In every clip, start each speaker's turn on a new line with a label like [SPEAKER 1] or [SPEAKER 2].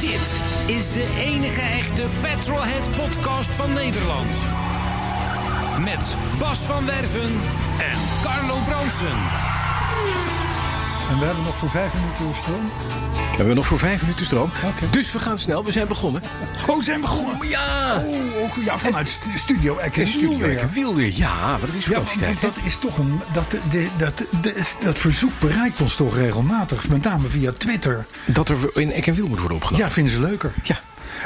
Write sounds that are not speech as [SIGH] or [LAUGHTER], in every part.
[SPEAKER 1] Dit is de enige echte Petrolhead podcast van Nederland. Met Bas van Werven en Carlo Bronsen.
[SPEAKER 2] En we hebben nog voor vijf minuten stroom.
[SPEAKER 3] We hebben nog voor vijf minuten stroom.
[SPEAKER 2] Oké.
[SPEAKER 3] Dus we gaan snel. We zijn begonnen.
[SPEAKER 2] Oh, we zijn begonnen.
[SPEAKER 3] Ja!
[SPEAKER 2] Oh, ook- ja, vanuit stu- Studio Eck
[SPEAKER 3] De
[SPEAKER 2] in
[SPEAKER 3] studio.
[SPEAKER 2] Nieuwweer.
[SPEAKER 3] Ik wilde. Ja, maar dat is
[SPEAKER 2] Ja, want
[SPEAKER 3] vakantietijd. hè?
[SPEAKER 2] dat is toch een. Dat, de, dat, de- dat verzoek bereikt ons toch regelmatig. Met name via Twitter.
[SPEAKER 3] dat er in Eck en Wiel moet worden opgenomen.
[SPEAKER 2] Ja, vinden ze leuker.
[SPEAKER 3] Ja.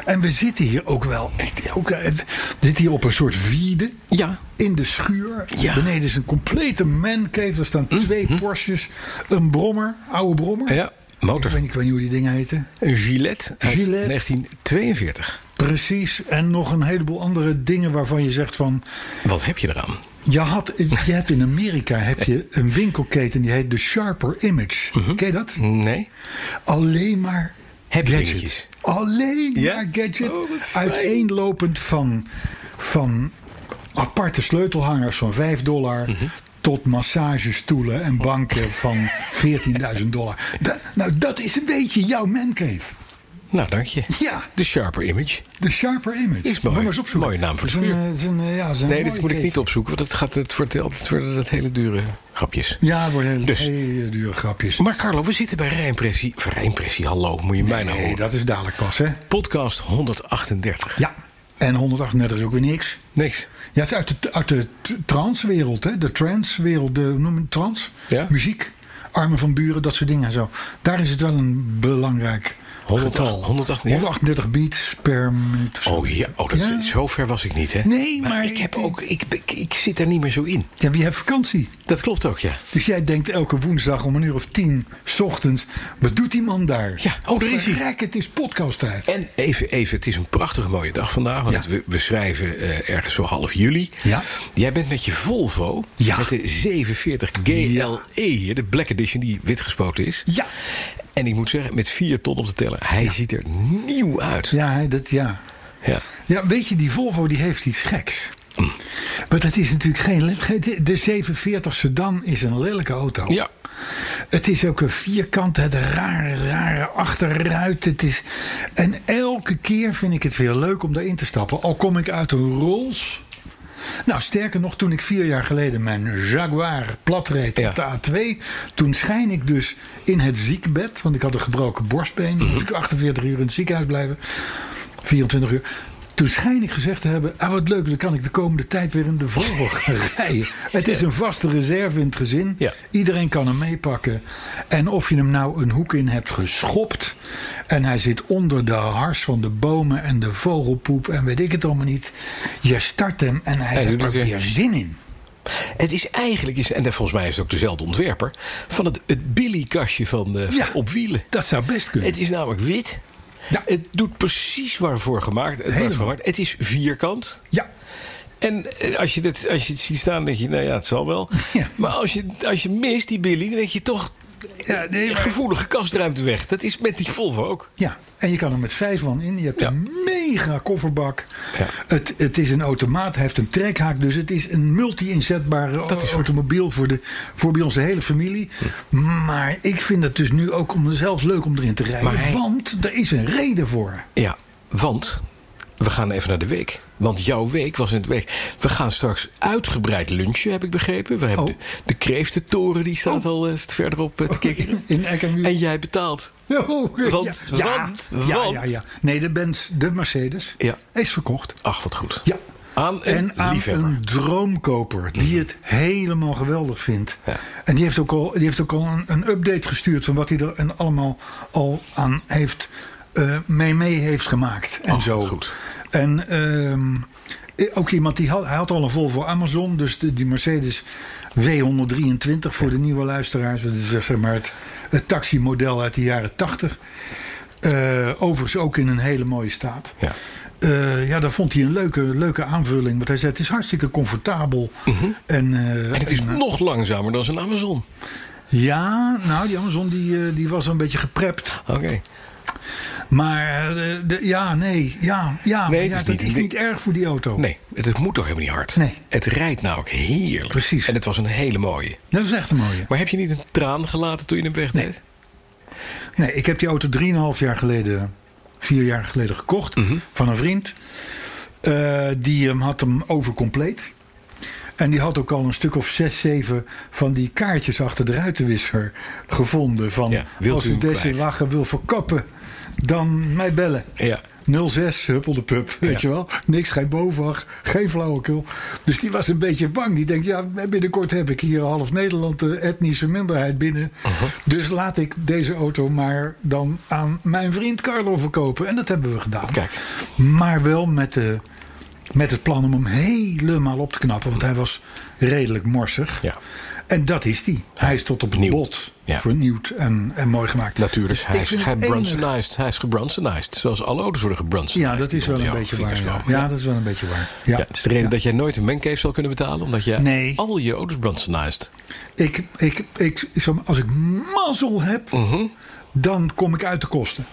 [SPEAKER 2] En we zitten hier ook wel. Echt, ook, eh, we zitten hier op een soort wiede.
[SPEAKER 3] Ja.
[SPEAKER 2] In de schuur.
[SPEAKER 3] Ja.
[SPEAKER 2] Beneden is een complete mancave. Er staan twee Porsches. Een brommer. Oude brommer.
[SPEAKER 3] Ja,
[SPEAKER 2] Ik weet,
[SPEAKER 3] motor.
[SPEAKER 2] niet, ik weet niet hoe die dingen heten.
[SPEAKER 3] Een Gillette uit
[SPEAKER 2] Gillette.
[SPEAKER 3] 1942.
[SPEAKER 2] Precies. En nog een heleboel andere dingen waarvan je zegt van.
[SPEAKER 3] Wat heb je eraan?
[SPEAKER 2] Je, had, je hebt in Amerika heb je een winkelketen die heet de Sharper Image. Ken je dat?
[SPEAKER 3] Nee.
[SPEAKER 2] Alleen maar
[SPEAKER 3] Mhm. Heb je dingetjes?
[SPEAKER 2] gadget. Alleen
[SPEAKER 3] Ja?
[SPEAKER 2] maar gadget.
[SPEAKER 3] Oh, wat fijn.
[SPEAKER 2] uiteenlopend van, van aparte sleutelhangers van 5 dollar.
[SPEAKER 3] Mhm.
[SPEAKER 2] Tot massagestoelen en banken van 14.000 dollar. Da- nou, dat is een beetje jouw mancave.
[SPEAKER 3] Nou, dank je.
[SPEAKER 2] Ja.
[SPEAKER 3] De Sharper Image.
[SPEAKER 2] De Sharper Image.
[SPEAKER 3] Is mooi.
[SPEAKER 2] Moet maar eens opzoeken.
[SPEAKER 3] Mooie naam voor
[SPEAKER 2] Het is een, eh, het is een, eh, ja, het is een
[SPEAKER 3] Nee, dit
[SPEAKER 2] mooie
[SPEAKER 3] moet ik
[SPEAKER 2] cake.
[SPEAKER 3] niet opzoeken, want het, gaat, het, vertelt, het worden dat hele dure grapjes.
[SPEAKER 2] Ja, het worden hele,
[SPEAKER 3] Dus.
[SPEAKER 2] hele dure grapjes.
[SPEAKER 3] Maar Carlo, we zitten bij Rijnpressie. Of Rijnpressie, hallo, moet je mij nou
[SPEAKER 2] Nee,
[SPEAKER 3] horen.
[SPEAKER 2] dat is dadelijk pas, hè?
[SPEAKER 3] Podcast 138.
[SPEAKER 2] Ja. En 138 is ook weer niks.
[SPEAKER 3] Niks.
[SPEAKER 2] Ja, het is uit de, uit de t- transwereld, hè? De transwereld, de hoe noem je het? trans,
[SPEAKER 3] Ja.
[SPEAKER 2] muziek, armen van buren, dat soort dingen en zo. Daar is het wel een belangrijk
[SPEAKER 3] 100
[SPEAKER 2] getal.
[SPEAKER 3] 138, ja.
[SPEAKER 2] 138 beats per minuut. of zo.
[SPEAKER 3] Oh ja, oh, dat,
[SPEAKER 2] Ja.
[SPEAKER 3] zo ver was ik niet, hè?
[SPEAKER 2] Nee, maar
[SPEAKER 3] ik, heb
[SPEAKER 2] ik-
[SPEAKER 3] ook, ik, ik, ik zit daar niet meer zo in.
[SPEAKER 2] Ja, maar je hebt vakantie.
[SPEAKER 3] Dat klopt ook, ja.
[SPEAKER 2] Dus jij denkt elke woensdag om een uur of tien 's ochtends, wat doet die man daar?
[SPEAKER 3] Ja, oh, daar is hij.
[SPEAKER 2] Verrek, het is podcasttijd.
[SPEAKER 3] En even, even, het is een prachtige mooie dag vandaag. Want
[SPEAKER 2] Ja.
[SPEAKER 3] we, we schrijven eh, ergens zo half juli.
[SPEAKER 2] Ja.
[SPEAKER 3] Jij bent met je Volvo.
[SPEAKER 2] Ja.
[SPEAKER 3] Met de 740 GLE E hier. De Black Edition die wit gespoten is.
[SPEAKER 2] Ja.
[SPEAKER 3] En ik moet zeggen, met 4 ton op de teller. Hij ziet er nieuw uit.
[SPEAKER 2] Ja, hè, dat, ja.
[SPEAKER 3] Ja.
[SPEAKER 2] Ja, weet je, die Volvo die heeft iets geks. Maar dat is natuurlijk geen... le- geen- de- De 740 sedan is een lelijke auto.
[SPEAKER 3] Ja.
[SPEAKER 2] Het is ook een vierkant, het rare, rare achterruit. Het is... En elke keer vind ik het weer leuk om daarin te stappen. Al kom ik uit een Rolls. Nou, sterker nog, toen ik vier jaar geleden mijn Jaguar platreed
[SPEAKER 3] Ja.
[SPEAKER 2] op de A2... toen schijn ik dus in het ziekbed, want ik had een gebroken borstbeen... moest ik 48 uur in het ziekenhuis blijven, 24 uur... Toen schijn ik gezegd te hebben, ah wat leuk, dan kan ik de komende tijd weer in de Volvo gaan rijden. Het is een vaste reserve in het gezin.
[SPEAKER 3] Ja.
[SPEAKER 2] Iedereen kan hem meepakken. En of je hem nou een hoek in hebt geschopt. En hij zit onder de hars van de bomen en de vogelpoep en weet ik het allemaal niet. Je start hem en hij,
[SPEAKER 3] Hij doet
[SPEAKER 2] heeft er
[SPEAKER 3] het weer.
[SPEAKER 2] weer zin in.
[SPEAKER 3] Het is eigenlijk, is, en dat volgens mij is het ook dezelfde ontwerper... van het, het Billy-kastje van, eh,
[SPEAKER 2] Ja.
[SPEAKER 3] op wielen.
[SPEAKER 2] Dat zou best kunnen.
[SPEAKER 3] Het is namelijk wit.
[SPEAKER 2] Ja.
[SPEAKER 3] Het doet precies waarvoor gemaakt. Het,
[SPEAKER 2] Helemaal.
[SPEAKER 3] waarvoor gemaakt. het is vierkant.
[SPEAKER 2] Ja,
[SPEAKER 3] En eh, als je, dit, als je het ziet staan, denk je, nou ja, het zal wel.
[SPEAKER 2] Ja.
[SPEAKER 3] Maar als je, als je mist die Billy, dan denk je toch
[SPEAKER 2] Ja, nee, maar-
[SPEAKER 3] gevoelige kastruimte weg. Dat is met die Volvo ook.
[SPEAKER 2] ja, en je kan hem met vijf man in. Je hebt
[SPEAKER 3] Ja.
[SPEAKER 2] een mega kofferbak.
[SPEAKER 3] Ja.
[SPEAKER 2] Het, het is een automaat, hij heeft een trekhaak. Dus het is een multi-inzetbare
[SPEAKER 3] Dat is waar.
[SPEAKER 2] automobiel voor, de, voor bij onze hele familie. Maar ik vind het dus nu ook om, zelfs leuk om erin te rijden.
[SPEAKER 3] Maar hij-
[SPEAKER 2] Want er is een reden voor.
[SPEAKER 3] Ja, want we gaan even naar de week. Want jouw week was in de week. We gaan straks uitgebreid lunchen, heb ik begrepen. We hebben
[SPEAKER 2] Oh.
[SPEAKER 3] de, de kreeftentoren, die staat al eens verderop eh, te kikkeren.
[SPEAKER 2] In Eck en Wiel.
[SPEAKER 3] En jij betaalt.
[SPEAKER 2] Oh, ja.
[SPEAKER 3] Want, want,
[SPEAKER 2] ja, ja,
[SPEAKER 3] want.
[SPEAKER 2] Ja, ja. Nee, de Benz, de Mercedes,
[SPEAKER 3] Ja.
[SPEAKER 2] is verkocht.
[SPEAKER 3] Ach, wat goed.
[SPEAKER 2] Ja.
[SPEAKER 3] Aan een
[SPEAKER 2] en aan
[SPEAKER 3] liefhebber. Mhm.
[SPEAKER 2] een droomkoper die het helemaal geweldig vindt.
[SPEAKER 3] Ja.
[SPEAKER 2] En die heeft ook al, die heeft ook al een, een update gestuurd van wat hij er en allemaal al aan heeft, eh, mee, mee heeft gemaakt. En
[SPEAKER 3] Ach,
[SPEAKER 2] zo.
[SPEAKER 3] wat goed.
[SPEAKER 2] En ehm, eh, ook iemand die had, hij had al een Volvo Amazon, dus de, die Mercedes W123 voor de nieuwe luisteraars. Dat is zeg maar het, het taximodel uit de jaren 80. Eh, overigens ook in een hele mooie staat.
[SPEAKER 4] Ja.
[SPEAKER 2] Eh, ja, daar vond hij een leuke, leuke aanvulling. Want hij zei: het is hartstikke comfortabel. En, eh,
[SPEAKER 4] Mhm. En het is
[SPEAKER 2] en, eh,
[SPEAKER 4] nog langzamer dan zijn Amazon.
[SPEAKER 2] ja, nou, die Amazon die, eh, die was een beetje geprept.
[SPEAKER 4] Oké.
[SPEAKER 2] Maar eh, de, de- ja, nee, ja, ja,
[SPEAKER 4] Nee, het
[SPEAKER 2] ja
[SPEAKER 4] is
[SPEAKER 2] dat
[SPEAKER 4] niet-
[SPEAKER 2] is
[SPEAKER 4] nee.
[SPEAKER 2] niet erg voor die auto.
[SPEAKER 4] Nee, het, het moet toch helemaal niet hard?
[SPEAKER 2] Nee.
[SPEAKER 4] Het rijdt namelijk heerlijk.
[SPEAKER 2] Precies.
[SPEAKER 4] En het was een hele mooie.
[SPEAKER 2] Dat is echt een mooie.
[SPEAKER 4] Maar heb je niet een traan gelaten toen je hem wegdeed?
[SPEAKER 2] Nee, ik heb die auto 3,5 jaar geleden, vier jaar geleden gekocht
[SPEAKER 4] Mhm.
[SPEAKER 2] van een vriend. Eh, die hem had hem overcompleet. En die had ook al een stuk of zes, zeven van die kaartjes achter de ruitenwisser gevonden. Van
[SPEAKER 4] Ja, wilt
[SPEAKER 2] als
[SPEAKER 4] u
[SPEAKER 2] u
[SPEAKER 4] hem
[SPEAKER 2] deze
[SPEAKER 4] kwijt?
[SPEAKER 2] wagen wil verkopen, dan mij bellen.
[SPEAKER 4] Ja.
[SPEAKER 2] 06, huppel de pup, weet je wel. Niks, geen bovenwacht, geen flauwekul. Dus die was een beetje bang. Die denkt, ja, binnenkort heb ik hier half Nederland de etnische minderheid binnen.
[SPEAKER 4] Uh-huh.
[SPEAKER 2] Dus laat ik deze auto maar dan aan mijn vriend Carlo verkopen. En dat hebben we gedaan.
[SPEAKER 4] Kijk.
[SPEAKER 2] Maar wel met, de, met het plan om hem helemaal op te knappen. Want hij was redelijk morsig.
[SPEAKER 4] Ja.
[SPEAKER 2] En dat is die. Hij is tot op het
[SPEAKER 4] Nieuw.
[SPEAKER 2] bot
[SPEAKER 4] Ja.
[SPEAKER 2] vernieuwd en, en mooi gemaakt.
[SPEAKER 4] Natuurlijk,
[SPEAKER 2] Dus
[SPEAKER 4] hij,
[SPEAKER 2] ik
[SPEAKER 4] is,
[SPEAKER 2] vind
[SPEAKER 4] hij,
[SPEAKER 2] het enige-
[SPEAKER 4] Brunsonized. hij is gebrunsonized. Zoals alle auto's worden gebrunsonized.
[SPEAKER 2] Ja, dat
[SPEAKER 4] die
[SPEAKER 2] is wel
[SPEAKER 4] onder
[SPEAKER 2] een
[SPEAKER 4] jouw
[SPEAKER 2] beetje waar.
[SPEAKER 4] vingers
[SPEAKER 2] Ja.
[SPEAKER 4] komen.
[SPEAKER 2] ja, dat is wel een beetje waar. Ja.
[SPEAKER 4] Ja, het is de reden dat jij nooit een mancave zal kunnen betalen. Omdat je
[SPEAKER 2] Nee.
[SPEAKER 4] al je auto's brunsonized.
[SPEAKER 2] Ik, ik, ik, zo- als ik mazzel heb,
[SPEAKER 4] Mhm.
[SPEAKER 2] dan kom ik uit de kosten.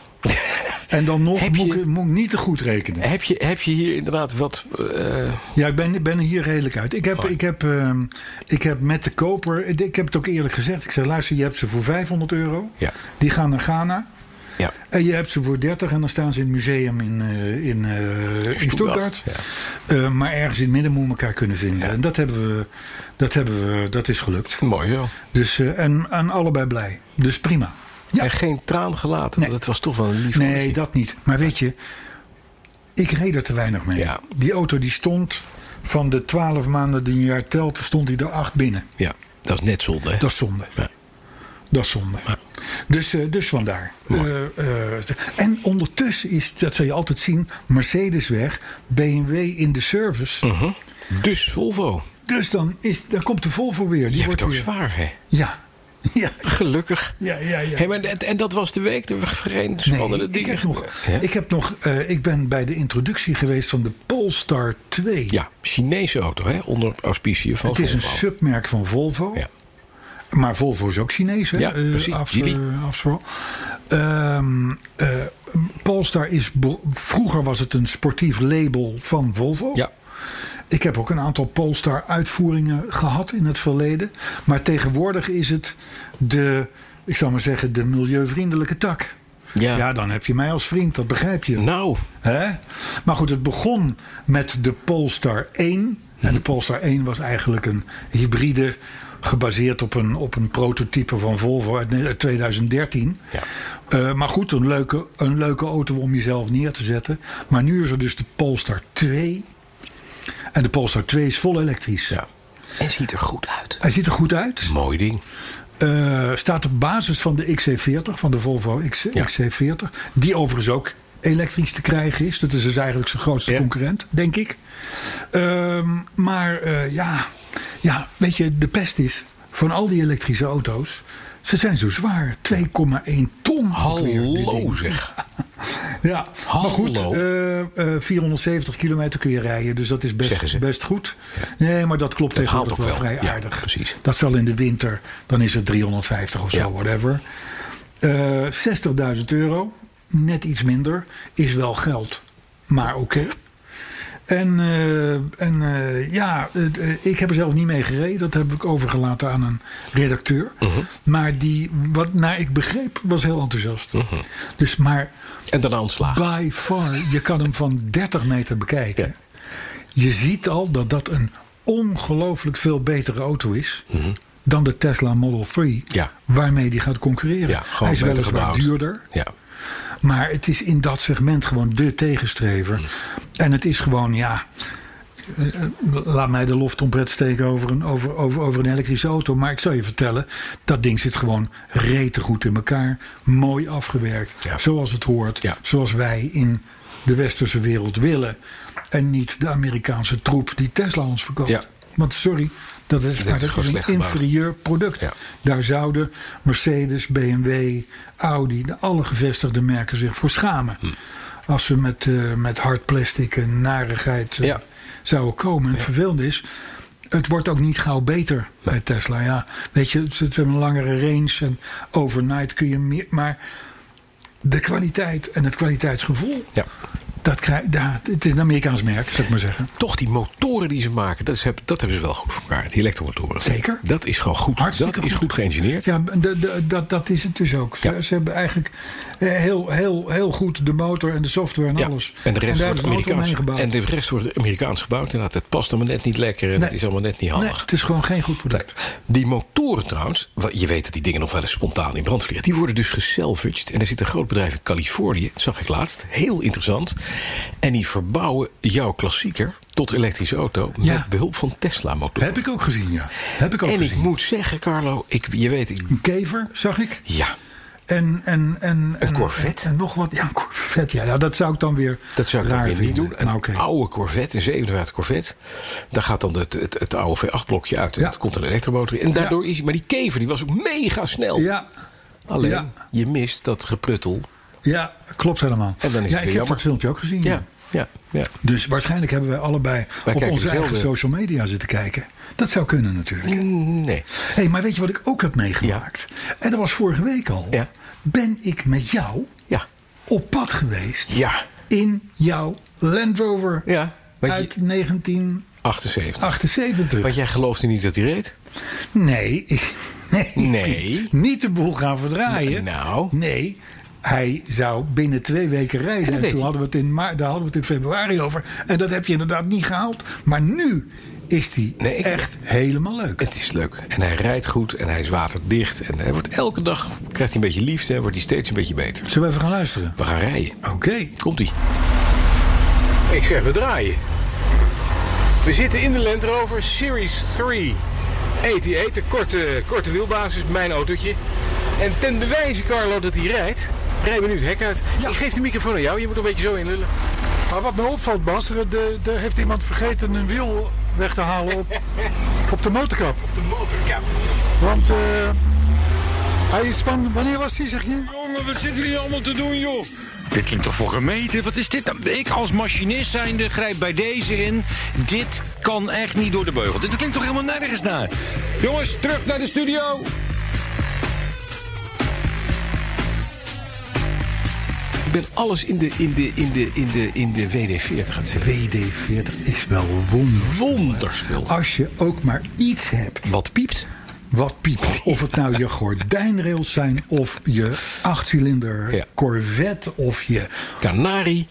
[SPEAKER 2] en dan nog
[SPEAKER 4] Heb
[SPEAKER 2] moet,
[SPEAKER 4] je-
[SPEAKER 2] ik, moet ik niet te goed rekenen.
[SPEAKER 4] [LAUGHS] Heb je, heb je hier inderdaad wat... eh,
[SPEAKER 2] Ja, ik ben, ik ben hier redelijk uit. Ik heb,
[SPEAKER 4] Oh.
[SPEAKER 2] ik, heb, ehm, ik heb met de koper, ik heb het ook eerlijk gezegd. Ik zei, luister, je hebt ze voor 500 euro.
[SPEAKER 4] Ja.
[SPEAKER 2] Die gaan naar Ghana.
[SPEAKER 4] ja.
[SPEAKER 2] En je hebt ze voor 30 en dan staan ze in het museum in, eh, in, eh in
[SPEAKER 4] Stuttgart,
[SPEAKER 2] Stuttgart. Eh, maar ergens in het midden moet elkaar kunnen vinden. En dat hebben, we, dat hebben we, dat is gelukt.
[SPEAKER 4] Mooi zo.
[SPEAKER 2] Dus, eh, en aan allebei blij. Dus prima. Ja.
[SPEAKER 4] En geen traan gelaten.
[SPEAKER 2] Nee.
[SPEAKER 4] want Het was toch wel een lief
[SPEAKER 2] Nee,
[SPEAKER 4] autootje.
[SPEAKER 2] dat niet. Maar weet je, ik reed er te weinig mee.
[SPEAKER 4] Ja.
[SPEAKER 2] Die auto die stond van de 12 maanden die een jaar telt, stond die er acht binnen.
[SPEAKER 4] Ja, dat is net zonde. hè?
[SPEAKER 2] Dat is zonde.
[SPEAKER 4] Ja.
[SPEAKER 2] Dat is zonde. Dus, eh, dus vandaar. Eh, eh, en ondertussen is, dat zal je altijd zien, Mercedes weg, BMW in de
[SPEAKER 4] Hm.
[SPEAKER 2] service.
[SPEAKER 4] Dus Volvo.
[SPEAKER 2] Dus dan, is, dan komt de Volvo weer. Die
[SPEAKER 4] Je hebt
[SPEAKER 2] wordt
[SPEAKER 4] het ook
[SPEAKER 2] weer.
[SPEAKER 4] zwaar, hè?
[SPEAKER 2] Ja. [LAUGHS] Ja.
[SPEAKER 4] Gelukkig.
[SPEAKER 2] Ja, ja, ja.
[SPEAKER 4] Hé, maar en, en dat was de week. Er waren geen spannende
[SPEAKER 2] ik
[SPEAKER 4] dingen.
[SPEAKER 2] heb nog,
[SPEAKER 4] Hè?
[SPEAKER 2] ik, heb nog eh, ik ben bij de introductie geweest van de Polestar 2.
[SPEAKER 4] Ja, Chinese auto, hè? Onder auspiciën van
[SPEAKER 2] Het is een
[SPEAKER 4] Volvo.
[SPEAKER 2] submerk van Volvo.
[SPEAKER 4] Ja.
[SPEAKER 2] Maar Volvo is ook Chinees, hè?
[SPEAKER 4] Ja,
[SPEAKER 2] Eh,
[SPEAKER 4] precies.
[SPEAKER 2] af-
[SPEAKER 4] Geely.
[SPEAKER 2] eh, afzwal. Ehm, eh, Polestar is... be- Vroeger was het een sportief label van Volvo.
[SPEAKER 4] Ja.
[SPEAKER 2] Ik heb ook een aantal Polestar-uitvoeringen gehad in het verleden. Maar tegenwoordig is het de... Ik zou maar zeggen, de milieuvriendelijke tak.
[SPEAKER 4] Ja.
[SPEAKER 2] ja, dan heb je mij als vriend, dat begrijp je.
[SPEAKER 4] Nou,
[SPEAKER 2] Hè? Maar goed, het begon met de Polestar 1. En de
[SPEAKER 4] Mhm.
[SPEAKER 2] Polestar 1 was eigenlijk een hybride. Gebaseerd op een, op een prototype van Volvo uit uit 2013.
[SPEAKER 4] Ja.
[SPEAKER 2] Eh, maar goed, een leuke, een leuke auto om jezelf neer te zetten. Maar nu is er dus de Polestar 2. En de Polestar 2 is vol elektrisch.
[SPEAKER 4] ja. En ziet er goed uit.
[SPEAKER 2] Hij ziet er goed uit.
[SPEAKER 4] Mooi ding.
[SPEAKER 2] Eh, staat op basis van de XC40, van de Volvo X,
[SPEAKER 4] Ja.
[SPEAKER 2] XC40. Die overigens ook elektrisch te krijgen is. Dat is dus eigenlijk zijn grootste
[SPEAKER 4] Ja.
[SPEAKER 2] concurrent, denk ik. Ehm, maar eh, ja, ja, weet je, de pest is van al die elektrische auto's. Ze zijn zo zwaar. 2,1 ton. alweer, die
[SPEAKER 4] Hallo
[SPEAKER 2] dingen.
[SPEAKER 4] zeg.
[SPEAKER 2] Ja,
[SPEAKER 4] Hallo.
[SPEAKER 2] maar goed, eh, eh, 470 kilometer kun je rijden, dus dat is
[SPEAKER 4] Zeggen
[SPEAKER 2] best,
[SPEAKER 4] ze.
[SPEAKER 2] best goed. Nee, maar dat klopt tegenwoordig
[SPEAKER 4] haalt
[SPEAKER 2] wel,
[SPEAKER 4] ook wel.
[SPEAKER 2] vrij
[SPEAKER 4] Ja,
[SPEAKER 2] aardig.
[SPEAKER 4] precies.
[SPEAKER 2] Dat zal in de winter, dan is het 350 of zo,
[SPEAKER 4] Ja.
[SPEAKER 2] whatever. Eh, 60.000 euro, net iets minder, is wel geld, maar oké. En, eh, en eh, ja, eh, eh, ik heb er zelf niet mee gereden. Dat heb ik overgelaten aan een redacteur.
[SPEAKER 4] Mhm.
[SPEAKER 2] Maar die, wat naar ik begreep, was heel enthousiast.
[SPEAKER 4] Mhm.
[SPEAKER 2] Dus maar
[SPEAKER 4] En daarna ontslagen.
[SPEAKER 2] By far. Je kan hem van 30 meter bekijken.
[SPEAKER 4] Ja.
[SPEAKER 2] Je ziet al dat dat een ongelooflijk veel betere auto is. Dan de Tesla Model 3.
[SPEAKER 4] Mhm. Ja.
[SPEAKER 2] Waarmee die gaat concurreren.
[SPEAKER 4] Ja, gewoon
[SPEAKER 2] Hij is
[SPEAKER 4] beter
[SPEAKER 2] weliswaar
[SPEAKER 4] gebouwd.
[SPEAKER 2] duurder.
[SPEAKER 4] Ja.
[SPEAKER 2] Maar het is in dat segment gewoon de tegenstrever. En het is gewoon, ja. eh, eh, Laat mij de loftompret steken over een, over, over, over een elektrische auto. Maar ik zal je vertellen, dat ding zit gewoon rete goed in elkaar. Mooi afgewerkt.
[SPEAKER 4] Ja.
[SPEAKER 2] Zoals het hoort.
[SPEAKER 4] Ja.
[SPEAKER 2] Zoals wij in de westerse wereld willen. En niet de Amerikaanse troep die Tesla ons verkoopt.
[SPEAKER 4] Ja.
[SPEAKER 2] Want sorry, Dat is,
[SPEAKER 3] Dit
[SPEAKER 2] maar
[SPEAKER 3] is
[SPEAKER 2] dat
[SPEAKER 3] gewoon
[SPEAKER 2] is
[SPEAKER 3] slecht
[SPEAKER 2] een
[SPEAKER 3] gebouwd.
[SPEAKER 2] inferieur product.
[SPEAKER 3] Ja.
[SPEAKER 2] Daar zouden Mercedes, BMW, Audi, de alle gevestigde merken zich voor schamen.
[SPEAKER 3] Hm.
[SPEAKER 2] Als ze met, eh, met hard plastic en narigheid eh,
[SPEAKER 3] Ja.
[SPEAKER 2] zouden komen. En het vervelende is, het wordt ook niet gauw beter bij Tesla. Ja, weet je, het, het hebben een langere range en overnight kun je meer. Maar de kwaliteit en het kwaliteitsgevoel,
[SPEAKER 3] Ja.
[SPEAKER 2] dat krijg, daar, het is een Amerikaans merk, zou ik maar zeggen.
[SPEAKER 3] Toch die motoren die ze maken, dat, is, dat hebben ze wel goed voor elkaar. Die elektromotoren.
[SPEAKER 2] Zeker.
[SPEAKER 3] Dat is gewoon goed.
[SPEAKER 2] Hartstikke
[SPEAKER 3] dat is
[SPEAKER 2] goed.
[SPEAKER 3] goed geïngineerd.
[SPEAKER 2] Ja, de- de- dat, dat is het dus ook.
[SPEAKER 3] Ja.
[SPEAKER 2] Ze, ze hebben eigenlijk eh, heel, heel, heel goed de motor en de software en alles.
[SPEAKER 3] En de
[SPEAKER 2] daar hebben
[SPEAKER 3] rest wordt
[SPEAKER 2] ze auto
[SPEAKER 3] Amerikaans.
[SPEAKER 2] omheen gebouwd.
[SPEAKER 3] En de rest wordt Amerikaans gebouwd. Inderdaad, het past allemaal net niet lekker. En
[SPEAKER 2] Nee.
[SPEAKER 3] het is allemaal net niet
[SPEAKER 2] nee,
[SPEAKER 3] handig.
[SPEAKER 2] het is gewoon geen goed product.
[SPEAKER 3] Die motoren trouwens, wa- je weet dat die dingen nog wel eens spontaan in brand vliegen. Die worden dus gesalvaged. En er zit een groot bedrijf in Californië, dat zag ik laatst. Heel interessant. En die verbouwen jouw klassieker tot elektrische auto
[SPEAKER 2] Ja.
[SPEAKER 3] met behulp van Tesla-motoren.
[SPEAKER 2] Heb ik ook gezien, ja. Heb ik ook
[SPEAKER 3] En ik
[SPEAKER 2] gezien.
[SPEAKER 3] moet zeggen, Carlo, ik, je weet, ik,
[SPEAKER 2] Een kever, zag ik.
[SPEAKER 3] ja,
[SPEAKER 2] En, en, en, en-
[SPEAKER 3] Corvette.
[SPEAKER 2] En, nog wat. Ja, een Corvette. Ja, ja, dat zou ik dan weer
[SPEAKER 3] dat zou ik dan
[SPEAKER 2] raar
[SPEAKER 3] weer niet
[SPEAKER 2] vinden.
[SPEAKER 3] doen. Een
[SPEAKER 2] Nou, oké.
[SPEAKER 3] oude Corvette, een 57 Corvette. Daar gaat dan het, het, het oude V8-blokje uit. En
[SPEAKER 2] Ja.
[SPEAKER 3] dat komt een elektromotor in. En daardoor is hij, maar die kever die was ook mega snel.
[SPEAKER 2] Ja,
[SPEAKER 3] Alleen,
[SPEAKER 2] Ja.
[SPEAKER 3] je mist dat gepruttel.
[SPEAKER 2] ja, klopt helemaal.
[SPEAKER 3] En dan is
[SPEAKER 2] ja, ik
[SPEAKER 3] het weer
[SPEAKER 2] heb
[SPEAKER 3] jammer.
[SPEAKER 2] dat filmpje ook gezien.
[SPEAKER 3] Ja, ja, ja.
[SPEAKER 2] Dus waarschijnlijk hebben wij allebei op
[SPEAKER 3] kijken
[SPEAKER 2] onze eigen
[SPEAKER 3] dezelfde-
[SPEAKER 2] social media zitten kijken. Dat zou kunnen natuurlijk.
[SPEAKER 3] Nee.
[SPEAKER 2] Hé, maar weet je wat ik ook heb meegemaakt? En dat was vorige week al.
[SPEAKER 3] Ja.
[SPEAKER 2] Ben ik met jou
[SPEAKER 3] Ja.
[SPEAKER 2] op pad geweest
[SPEAKER 3] Ja.
[SPEAKER 2] in jouw Land Rover
[SPEAKER 3] Ja. Want
[SPEAKER 2] uit
[SPEAKER 3] je- 78.
[SPEAKER 2] 1978?
[SPEAKER 3] Want jij geloofde niet dat hij reed?
[SPEAKER 2] Nee, ik- nee,
[SPEAKER 3] Nee.
[SPEAKER 2] Niet de boel gaan verdraaien.
[SPEAKER 3] Nou.
[SPEAKER 2] Nee. Hij zou binnen twee weken rijden.
[SPEAKER 3] dat
[SPEAKER 2] En,
[SPEAKER 3] deed
[SPEAKER 2] toen
[SPEAKER 3] hij.
[SPEAKER 2] hadden we, het in maar, daar hadden we het in februari over. En dat heb je inderdaad niet gehaald. Maar nu is die
[SPEAKER 3] Nee, ik-
[SPEAKER 2] echt helemaal leuk.
[SPEAKER 3] Het is leuk. En hij rijdt goed en hij is waterdicht. En hij wordt elke dag, krijgt hij een beetje liefde en wordt hij steeds een beetje beter.
[SPEAKER 2] Zullen we even gaan luisteren?
[SPEAKER 3] We gaan rijden.
[SPEAKER 2] Oké.
[SPEAKER 3] Komt ie. Ik zeg, we draaien. We zitten in de Land Rover Series 3 88, de korte, korte wielbasis, mijn autootje. En ten bewijze, Carlo, dat hij rijdt, rijden we nu het hek uit. Ik geef de microfoon aan jou, je moet een beetje zo inlullen.
[SPEAKER 5] Maar wat me opvalt, Bas, er, de- de- heeft iemand vergeten een wiel weg te halen op,
[SPEAKER 3] [LAUGHS]
[SPEAKER 5] op de motorkap.
[SPEAKER 3] De motorkap.
[SPEAKER 5] Want eh, hij is van, wanneer was die, zeg je?
[SPEAKER 1] Jongen, wat zitten jullie allemaal te doen, joh? Dit klinkt toch voor gemeten? Wat is dit dan? Ik als machinist zijnde grijp bij deze in. Dit kan echt niet door de beugel. Dit klinkt toch helemaal nergens naar? Jongens, terug naar de studio.
[SPEAKER 3] Ik ben alles in de, in de, in de, in de, in de WD-40 aan het zetten.
[SPEAKER 2] WD-40 is wel wonder.
[SPEAKER 3] Wonderspul.
[SPEAKER 2] Als je ook maar iets hebt
[SPEAKER 3] Wat piept?
[SPEAKER 2] wat piept. Of het nou je gordijnrails zijn, of je achtcilinder
[SPEAKER 3] Ja.
[SPEAKER 2] Corvette, of je...
[SPEAKER 3] Kanarie.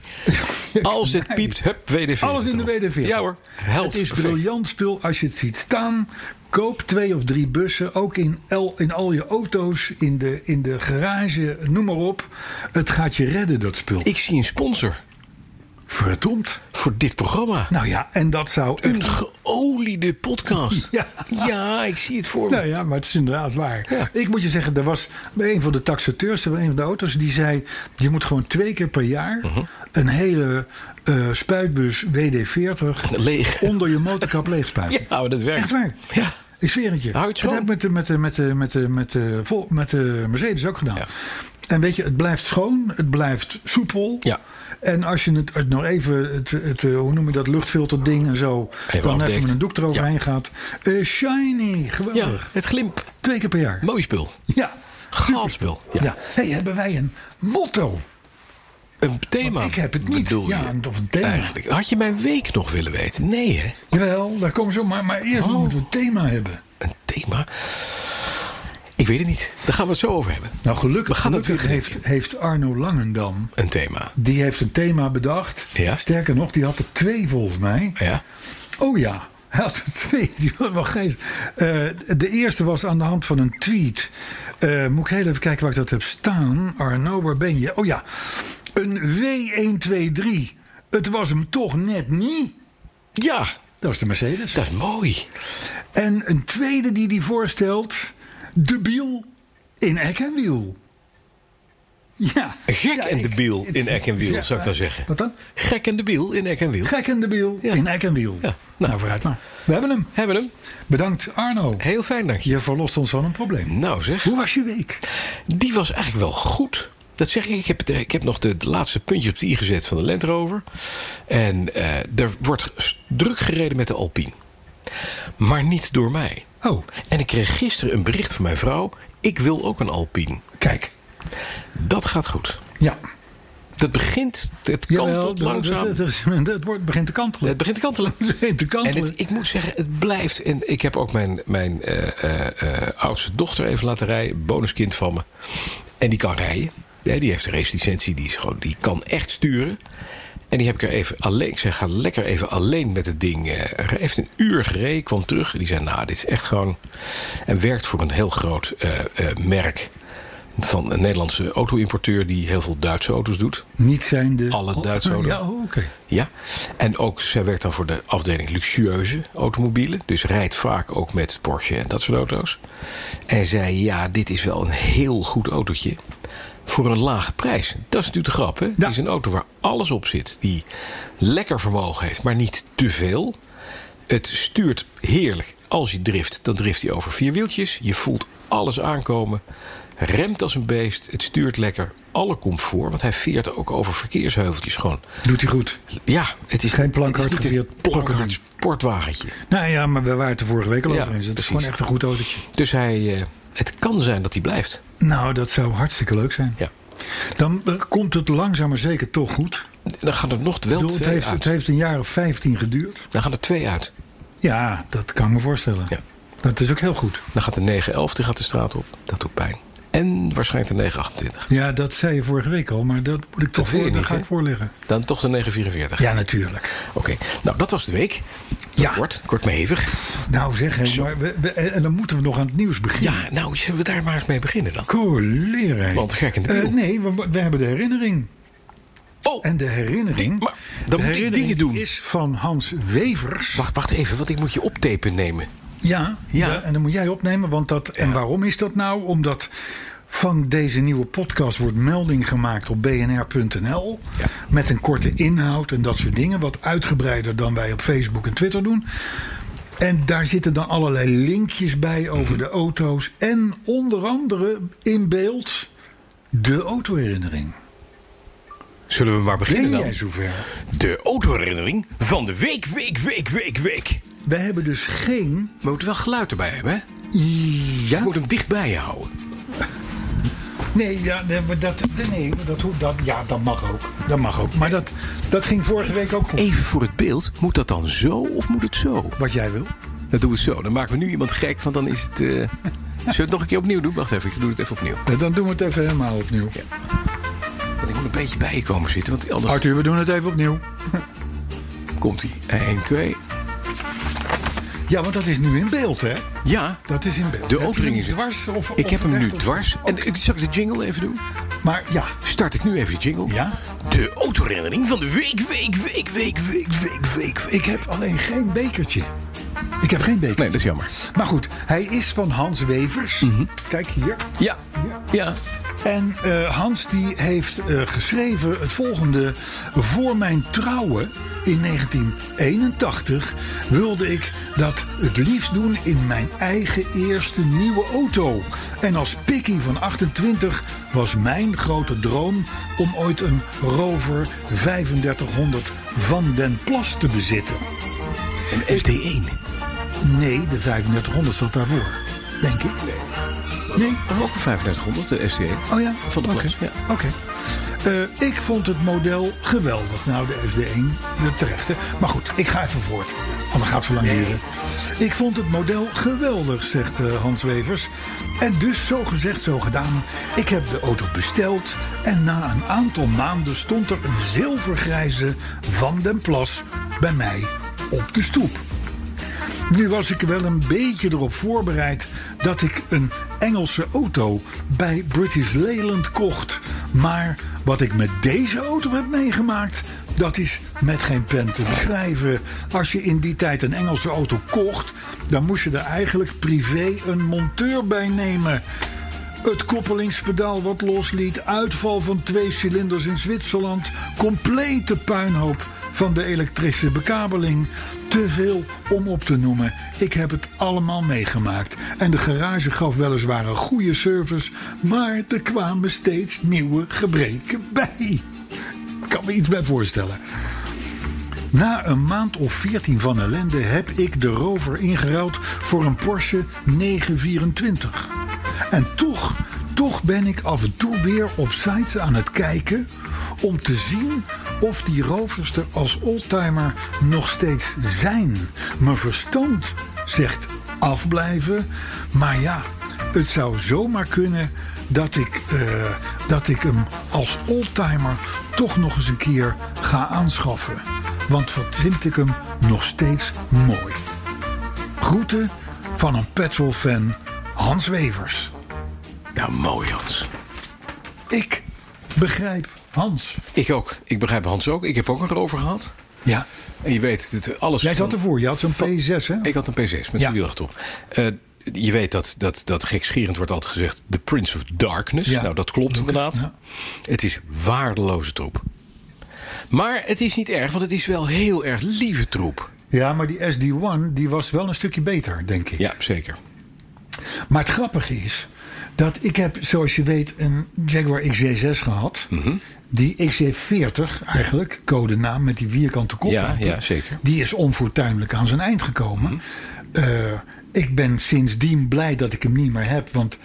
[SPEAKER 3] Als het piept, hup, WD-40.
[SPEAKER 2] Alles in de WD-40.
[SPEAKER 3] Ja hoor, helpt.
[SPEAKER 2] Het is
[SPEAKER 3] perfect.
[SPEAKER 2] briljant spul als je het ziet staan. Koop twee of drie bussen, ook in, el- in al je auto's, in de, in de garage, noem maar op. Het gaat je redden, dat spul.
[SPEAKER 3] Ik zie een sponsor
[SPEAKER 2] Verdomd.
[SPEAKER 3] voor dit programma.
[SPEAKER 2] Nou ja, en dat zou
[SPEAKER 3] Een
[SPEAKER 2] echt...
[SPEAKER 3] geoliede
[SPEAKER 2] [LAUGHS]
[SPEAKER 3] podcast.
[SPEAKER 2] Ja.
[SPEAKER 3] Ja, ik zie het voor me.
[SPEAKER 2] Nou ja, maar het is inderdaad waar.
[SPEAKER 3] Ja.
[SPEAKER 2] Ik moet je zeggen, er was een van de taxateurs van een van de auto's die zei: je moet gewoon twee keer per jaar
[SPEAKER 3] Mhm.
[SPEAKER 2] een hele eh, spuitbus WD-40
[SPEAKER 3] Leeg.
[SPEAKER 2] onder je motorkap leeg spuiten.
[SPEAKER 3] [LAUGHS] Ja, maar dat werkt.
[SPEAKER 2] Echt waar.
[SPEAKER 3] Ja.
[SPEAKER 2] Ik zweer het je.
[SPEAKER 3] Hou je het
[SPEAKER 2] dat
[SPEAKER 3] schoon?
[SPEAKER 2] heb ik met de, met de, met de, met de, met de, vol- met de Mercedes ook gedaan.
[SPEAKER 3] Ja.
[SPEAKER 2] En weet je, het blijft schoon, het blijft soepel.
[SPEAKER 3] Ja.
[SPEAKER 2] En als je het, het nog even, het, het, eh, hoe noem je dat, luchtfilterding en zo,
[SPEAKER 3] Even
[SPEAKER 2] dan
[SPEAKER 3] afdekt.
[SPEAKER 2] even met een doek eroverheen gaat. Eh, shiny,
[SPEAKER 3] Ja,
[SPEAKER 2] geweldig.
[SPEAKER 3] het glimp.
[SPEAKER 2] Twee keer per jaar.
[SPEAKER 3] Mooi spul.
[SPEAKER 2] Ja.
[SPEAKER 3] Gaaf spul.
[SPEAKER 2] ja. Hey, hebben wij een motto?
[SPEAKER 3] Een thema.
[SPEAKER 2] ik heb het niet.
[SPEAKER 3] bedoel
[SPEAKER 2] Ja,
[SPEAKER 3] je?
[SPEAKER 2] een- of een thema.
[SPEAKER 3] Eigenlijk. Had je mijn week nog willen weten? Nee, hè?
[SPEAKER 2] Jawel, daar komen we zo. Maar, maar
[SPEAKER 3] Oh.
[SPEAKER 2] eerst moeten we een thema hebben.
[SPEAKER 3] Een thema? Ik weet het niet. Daar gaan we het zo over hebben.
[SPEAKER 2] Nou, gelukkig,
[SPEAKER 3] We gaan het
[SPEAKER 2] gelukkig
[SPEAKER 3] weer
[SPEAKER 2] heeft, heeft Arno Langendam...
[SPEAKER 3] Een thema.
[SPEAKER 2] Die heeft een thema bedacht.
[SPEAKER 3] Ja.
[SPEAKER 2] Sterker nog, die had er twee volgens mij.
[SPEAKER 3] Ja.
[SPEAKER 2] Oh ja, hij had er twee. Die was wel geest. Eh, de eerste was aan de hand van een tweet. Eh, moet ik heel even kijken waar ik dat heb staan. Arno, waar ben je? Oh ja, een W123. Het was hem toch net niet.
[SPEAKER 3] Ja,
[SPEAKER 2] Dat is de Mercedes.
[SPEAKER 3] dat is mooi.
[SPEAKER 2] En een tweede die die voorstelt. De Biel in Eck en Wiel. Ja.
[SPEAKER 3] Gek
[SPEAKER 2] Ja,
[SPEAKER 3] en
[SPEAKER 2] ik-
[SPEAKER 3] debiel
[SPEAKER 2] het-
[SPEAKER 3] in Eck en Wiel, zou ik dan
[SPEAKER 2] eh,
[SPEAKER 3] zeggen.
[SPEAKER 2] Wat dan?
[SPEAKER 3] Gek en debiel in Eck en Wiel.
[SPEAKER 2] Gek en debiel
[SPEAKER 3] Ja.
[SPEAKER 2] in Eck en Wiel.
[SPEAKER 3] Ja.
[SPEAKER 2] Nou, vooruit maar. We hebben hem.
[SPEAKER 3] Hebben we hem?
[SPEAKER 2] Bedankt Arno.
[SPEAKER 3] Heel fijn, dank je.
[SPEAKER 2] Je verlost ons van een probleem.
[SPEAKER 3] Nou zeg.
[SPEAKER 2] Hoe was je week?
[SPEAKER 3] Die was eigenlijk wel goed. Dat zeg ik. Ik heb, de- ik heb nog de, de laatste puntjes op de i gezet van de Land Rover. En eh, er wordt s- druk gereden met de Alpine. Maar niet door mij.
[SPEAKER 2] Oh,
[SPEAKER 3] En ik kreeg gisteren een bericht van mijn vrouw. Ik wil ook een Alpine.
[SPEAKER 2] kijk.
[SPEAKER 3] Dat gaat goed.
[SPEAKER 2] Ja.
[SPEAKER 3] Dat begint. Het
[SPEAKER 2] Jawel,
[SPEAKER 3] kantelt
[SPEAKER 2] de-
[SPEAKER 3] langzaam.
[SPEAKER 2] Het, het, het, het wordt- begint te kantelen.
[SPEAKER 3] Het begint te kantelen.
[SPEAKER 2] Het [LAUGHS] begint te
[SPEAKER 3] En
[SPEAKER 2] kantelen.
[SPEAKER 3] het- ik moet zeggen, het blijft. En ik heb ook mijn, mijn eh, eh, eh, oudste dochter even laten rijden. Bonuskind van me. En die kan rijden. Ja, die heeft een racelicentie. Die, is gewoon, die kan echt sturen. En die heb ik er even alleen. Ik zei, ga lekker even alleen met het ding. eh, Hij heeft een uur gereden, kwam terug. En die zei, nou, dit is echt gewoon... En werkt voor een heel groot eh, eh, merk. Van een Nederlandse auto-importeur die heel veel Duitse auto's doet.
[SPEAKER 2] Niet zijn de...
[SPEAKER 3] Alle
[SPEAKER 2] Oh,
[SPEAKER 3] Duitse auto's.
[SPEAKER 2] Ja, oh, oké.
[SPEAKER 3] Ja, en ook zij werkt dan voor de afdeling luxueuze automobielen. Dus rijdt vaak ook met Porsche en dat soort auto's. En zei: Ja, dit is wel een heel goed autootje. Voor een lage prijs. Dat is natuurlijk de grap, hè? Het is een auto waar alles op zit. Die lekker vermogen heeft, maar niet te veel. Het stuurt heerlijk. Als je drift, dan drift hij over vier wieltjes. Je voelt alles aankomen. Remt als een beest. Het stuurt lekker. Alle comfort, want hij veert ook over verkeersheuveltjes gewoon.
[SPEAKER 2] Doet hij goed.
[SPEAKER 3] Ja, het is
[SPEAKER 2] Geen
[SPEAKER 3] het is
[SPEAKER 2] plankhard
[SPEAKER 3] niet een
[SPEAKER 2] gevierd
[SPEAKER 3] plankhard
[SPEAKER 2] plakkerding.
[SPEAKER 3] sportwagentje.
[SPEAKER 2] Nou ja, maar we waren het er vorige week al
[SPEAKER 3] Ja,
[SPEAKER 2] over eens. Het is
[SPEAKER 3] precies.
[SPEAKER 2] gewoon echt een goed autootje.
[SPEAKER 3] Dus hij, eh, het kan zijn dat hij blijft.
[SPEAKER 2] Nou, dat zou hartstikke leuk zijn.
[SPEAKER 3] Ja.
[SPEAKER 2] Dan eh, komt het langzaam maar zeker toch goed.
[SPEAKER 3] Dan gaan er nog wel
[SPEAKER 2] Ik bedoel, het,
[SPEAKER 3] twee
[SPEAKER 2] heeft,
[SPEAKER 3] uit.
[SPEAKER 2] het heeft een jaar of 15 geduurd.
[SPEAKER 3] Dan gaan er twee uit.
[SPEAKER 2] Ja, dat kan ik me voorstellen.
[SPEAKER 3] Ja.
[SPEAKER 2] Dat is ook heel goed.
[SPEAKER 3] Dan gaat de 911 die gaat de straat op. Dat doet pijn. En waarschijnlijk de 928.
[SPEAKER 2] Ja, dat zei je vorige week al, maar dat moet ik toch
[SPEAKER 3] wil je
[SPEAKER 2] voor, daar
[SPEAKER 3] niet,
[SPEAKER 2] ga
[SPEAKER 3] hè?
[SPEAKER 2] ik voor liggen.
[SPEAKER 3] Dan toch de 944.
[SPEAKER 2] Ja, natuurlijk.
[SPEAKER 3] Oké, nou dat was de week.
[SPEAKER 2] Ja.
[SPEAKER 3] Kort, kort maar hevig.
[SPEAKER 2] Nou zeg, hè, maar we, we- en dan moeten we nog aan het nieuws beginnen.
[SPEAKER 3] Ja, nou zullen we daar maar eens mee beginnen dan.
[SPEAKER 2] Colera.
[SPEAKER 3] Want gek in de
[SPEAKER 2] Eh,
[SPEAKER 3] wiel.
[SPEAKER 2] nee, we, we hebben de herinnering.
[SPEAKER 3] Oh,
[SPEAKER 2] En de herinnering.
[SPEAKER 3] maar dan
[SPEAKER 2] de
[SPEAKER 3] moet ik
[SPEAKER 2] herinnering
[SPEAKER 3] dingen doen.
[SPEAKER 2] is van Hans Wevers.
[SPEAKER 3] Oh, Wacht, wacht even, want ik moet je optapen nemen.
[SPEAKER 2] Ja,
[SPEAKER 3] Ja.
[SPEAKER 2] da- en dan moet jij opnemen. Want dat, En waarom is dat nou? Omdat van deze nieuwe podcast wordt melding gemaakt op bnr.nl.
[SPEAKER 3] Ja.
[SPEAKER 2] Met een korte inhoud en dat soort dingen. Wat uitgebreider dan wij op Facebook en Twitter doen. En daar zitten dan allerlei linkjes bij
[SPEAKER 3] Mhm.
[SPEAKER 2] over de auto's. En onder andere in beeld de autoherinnering.
[SPEAKER 3] Zullen we maar
[SPEAKER 2] Ben
[SPEAKER 3] beginnen
[SPEAKER 2] jij
[SPEAKER 3] dan?
[SPEAKER 2] zover?
[SPEAKER 3] De autoherinnering van de week, week, week, week, week.
[SPEAKER 2] Wij hebben dus geen...
[SPEAKER 3] We moeten wel geluid erbij hebben, hè?
[SPEAKER 2] Ja?
[SPEAKER 3] Je moet hem dicht bij je houden.
[SPEAKER 2] Nee, ja, nee, maar dat, nee maar dat, hoe- dat, ja, dat mag ook. Dat mag ook. Maar dat, dat ging vorige week ook goed.
[SPEAKER 3] Even voor het beeld, moet dat dan zo of moet het zo?
[SPEAKER 2] Wat jij wil.
[SPEAKER 3] Dat doen we zo. Dan maken we nu iemand gek, want dan is het... eh, Zullen we het nog een keer opnieuw doen? Wacht even, ik doe het even opnieuw.
[SPEAKER 2] Eh, Dan doen we het even helemaal opnieuw.
[SPEAKER 3] Want ik moet een beetje bij je komen zitten, want anders
[SPEAKER 2] Arthur, we doen het even opnieuw.
[SPEAKER 3] komt hij. 1, 2.
[SPEAKER 2] Ja, want dat is nu in beeld, hè?
[SPEAKER 3] Ja,
[SPEAKER 2] Dat is in beeld.
[SPEAKER 3] de
[SPEAKER 2] Heb je
[SPEAKER 3] autoring
[SPEAKER 2] hem
[SPEAKER 3] is...
[SPEAKER 2] dwars. Of,
[SPEAKER 3] ik
[SPEAKER 2] of
[SPEAKER 3] heb hem nu
[SPEAKER 2] recht of-
[SPEAKER 3] dwars. En ik zal ik de jingle even doen?
[SPEAKER 2] Maar ja,
[SPEAKER 3] Start ik nu even de jingle?
[SPEAKER 2] Ja.
[SPEAKER 3] De autoherinnering van de week, week, week, week, week, week, week,
[SPEAKER 2] ik
[SPEAKER 3] week.
[SPEAKER 2] heb alleen geen bekertje. Ik heb geen bekertje.
[SPEAKER 3] Nee, Mhm. dat is jammer.
[SPEAKER 2] Maar goed, hij is van Hans Wevers. Kijk hier.
[SPEAKER 3] Ja, ja.
[SPEAKER 2] En eh, Hans die heeft eh, geschreven het volgende. Voor mijn trouwen in 1981 wilde ik dat het liefst doen in mijn eigen eerste nieuwe auto. En als pikkie van 28 was mijn grote droom om ooit een Rover 3500 van den Plas te bezitten.
[SPEAKER 3] Een FD1.
[SPEAKER 2] Nee, de 3500 zat daarvoor, denk ik. Nee?
[SPEAKER 3] Dat is ook een 3500, de E. ST1.
[SPEAKER 2] Oh ja?
[SPEAKER 3] Van de
[SPEAKER 2] Oké.
[SPEAKER 3] klas, ja.
[SPEAKER 2] Oké. Eh, ik vond het model geweldig. Nou, de FD1, de terechte. Maar goed, ik ga even voort. Want dat gaat zo lang duren. Ik vond het model geweldig, zegt eh, Hans Wevers. En dus zo gezegd, zo gedaan. Ik heb de auto besteld. En na een aantal maanden stond er een zilvergrijze Van den Plas bij mij op de stoep. Nu was ik wel een beetje erop voorbereid dat ik een Engelse auto bij British Leyland kocht. Maar wat ik met deze auto heb meegemaakt, dat is met geen pen te beschrijven. Als je in die tijd een Engelse auto kocht, dan moest je er eigenlijk privé een monteur bij nemen. Het koppelingspedaal wat losliet. Uitval van twee cilinders in Zwitserland. Complete puinhoop van de elektrische bekabeling. Te veel om op te noemen. Ik heb het allemaal meegemaakt. En de garage gaf weliswaar een goede service. Maar er kwamen steeds nieuwe gebreken bij. Ik kan me iets bij voorstellen. Na een maand of 14 van ellende heb ik de Rover ingeruild voor een Porsche 924. En toch, toch ben ik af en toe weer op sites aan het kijken om te zien of die Rovers er als oldtimer nog steeds zijn. Mijn verstand zegt afblijven, maar ja, het zou zomaar kunnen dat ik, eh, dat ik hem als oldtimer toch nog eens een keer ga aanschaffen. Want wat vind ik hem nog steeds mooi. Groeten van een petrolfan Hans Wevers.
[SPEAKER 3] Nou, mooi Hans.
[SPEAKER 2] Ik begrijp Hans.
[SPEAKER 3] Ik ook. Ik begrijp Hans ook. Ik heb ook een rover gehad.
[SPEAKER 2] Ja.
[SPEAKER 3] En je weet, het, alles...
[SPEAKER 2] Jij zat
[SPEAKER 3] van-
[SPEAKER 2] ervoor. Je had zo'n
[SPEAKER 3] van-
[SPEAKER 2] P6, hè?
[SPEAKER 3] Ik had een P6 met
[SPEAKER 2] Ja.
[SPEAKER 3] zijn wielrecht op. Eh, je weet dat, dat, dat gekscherend wordt altijd gezegd... The Prince of Darkness.
[SPEAKER 2] Ja.
[SPEAKER 3] Nou, dat klopt inderdaad.
[SPEAKER 2] ja.
[SPEAKER 3] Het is waardeloze troep. Maar het is niet erg, want het is wel heel erg lieve troep.
[SPEAKER 2] Ja, maar die SD1 die was wel een stukje beter, denk ik.
[SPEAKER 3] Ja, zeker.
[SPEAKER 2] Maar het grappige is dat ik heb, zoals je weet, een Jaguar XJ6 gehad.
[SPEAKER 3] Mhm.
[SPEAKER 2] Die XJ40 eigenlijk, codenaam met die vierkante kop.
[SPEAKER 3] Ja, ja, zeker. Mhm.
[SPEAKER 2] Die is onfortuinlijk aan zijn eind gekomen. Eh, ik ben sindsdien blij dat ik hem niet meer heb. Want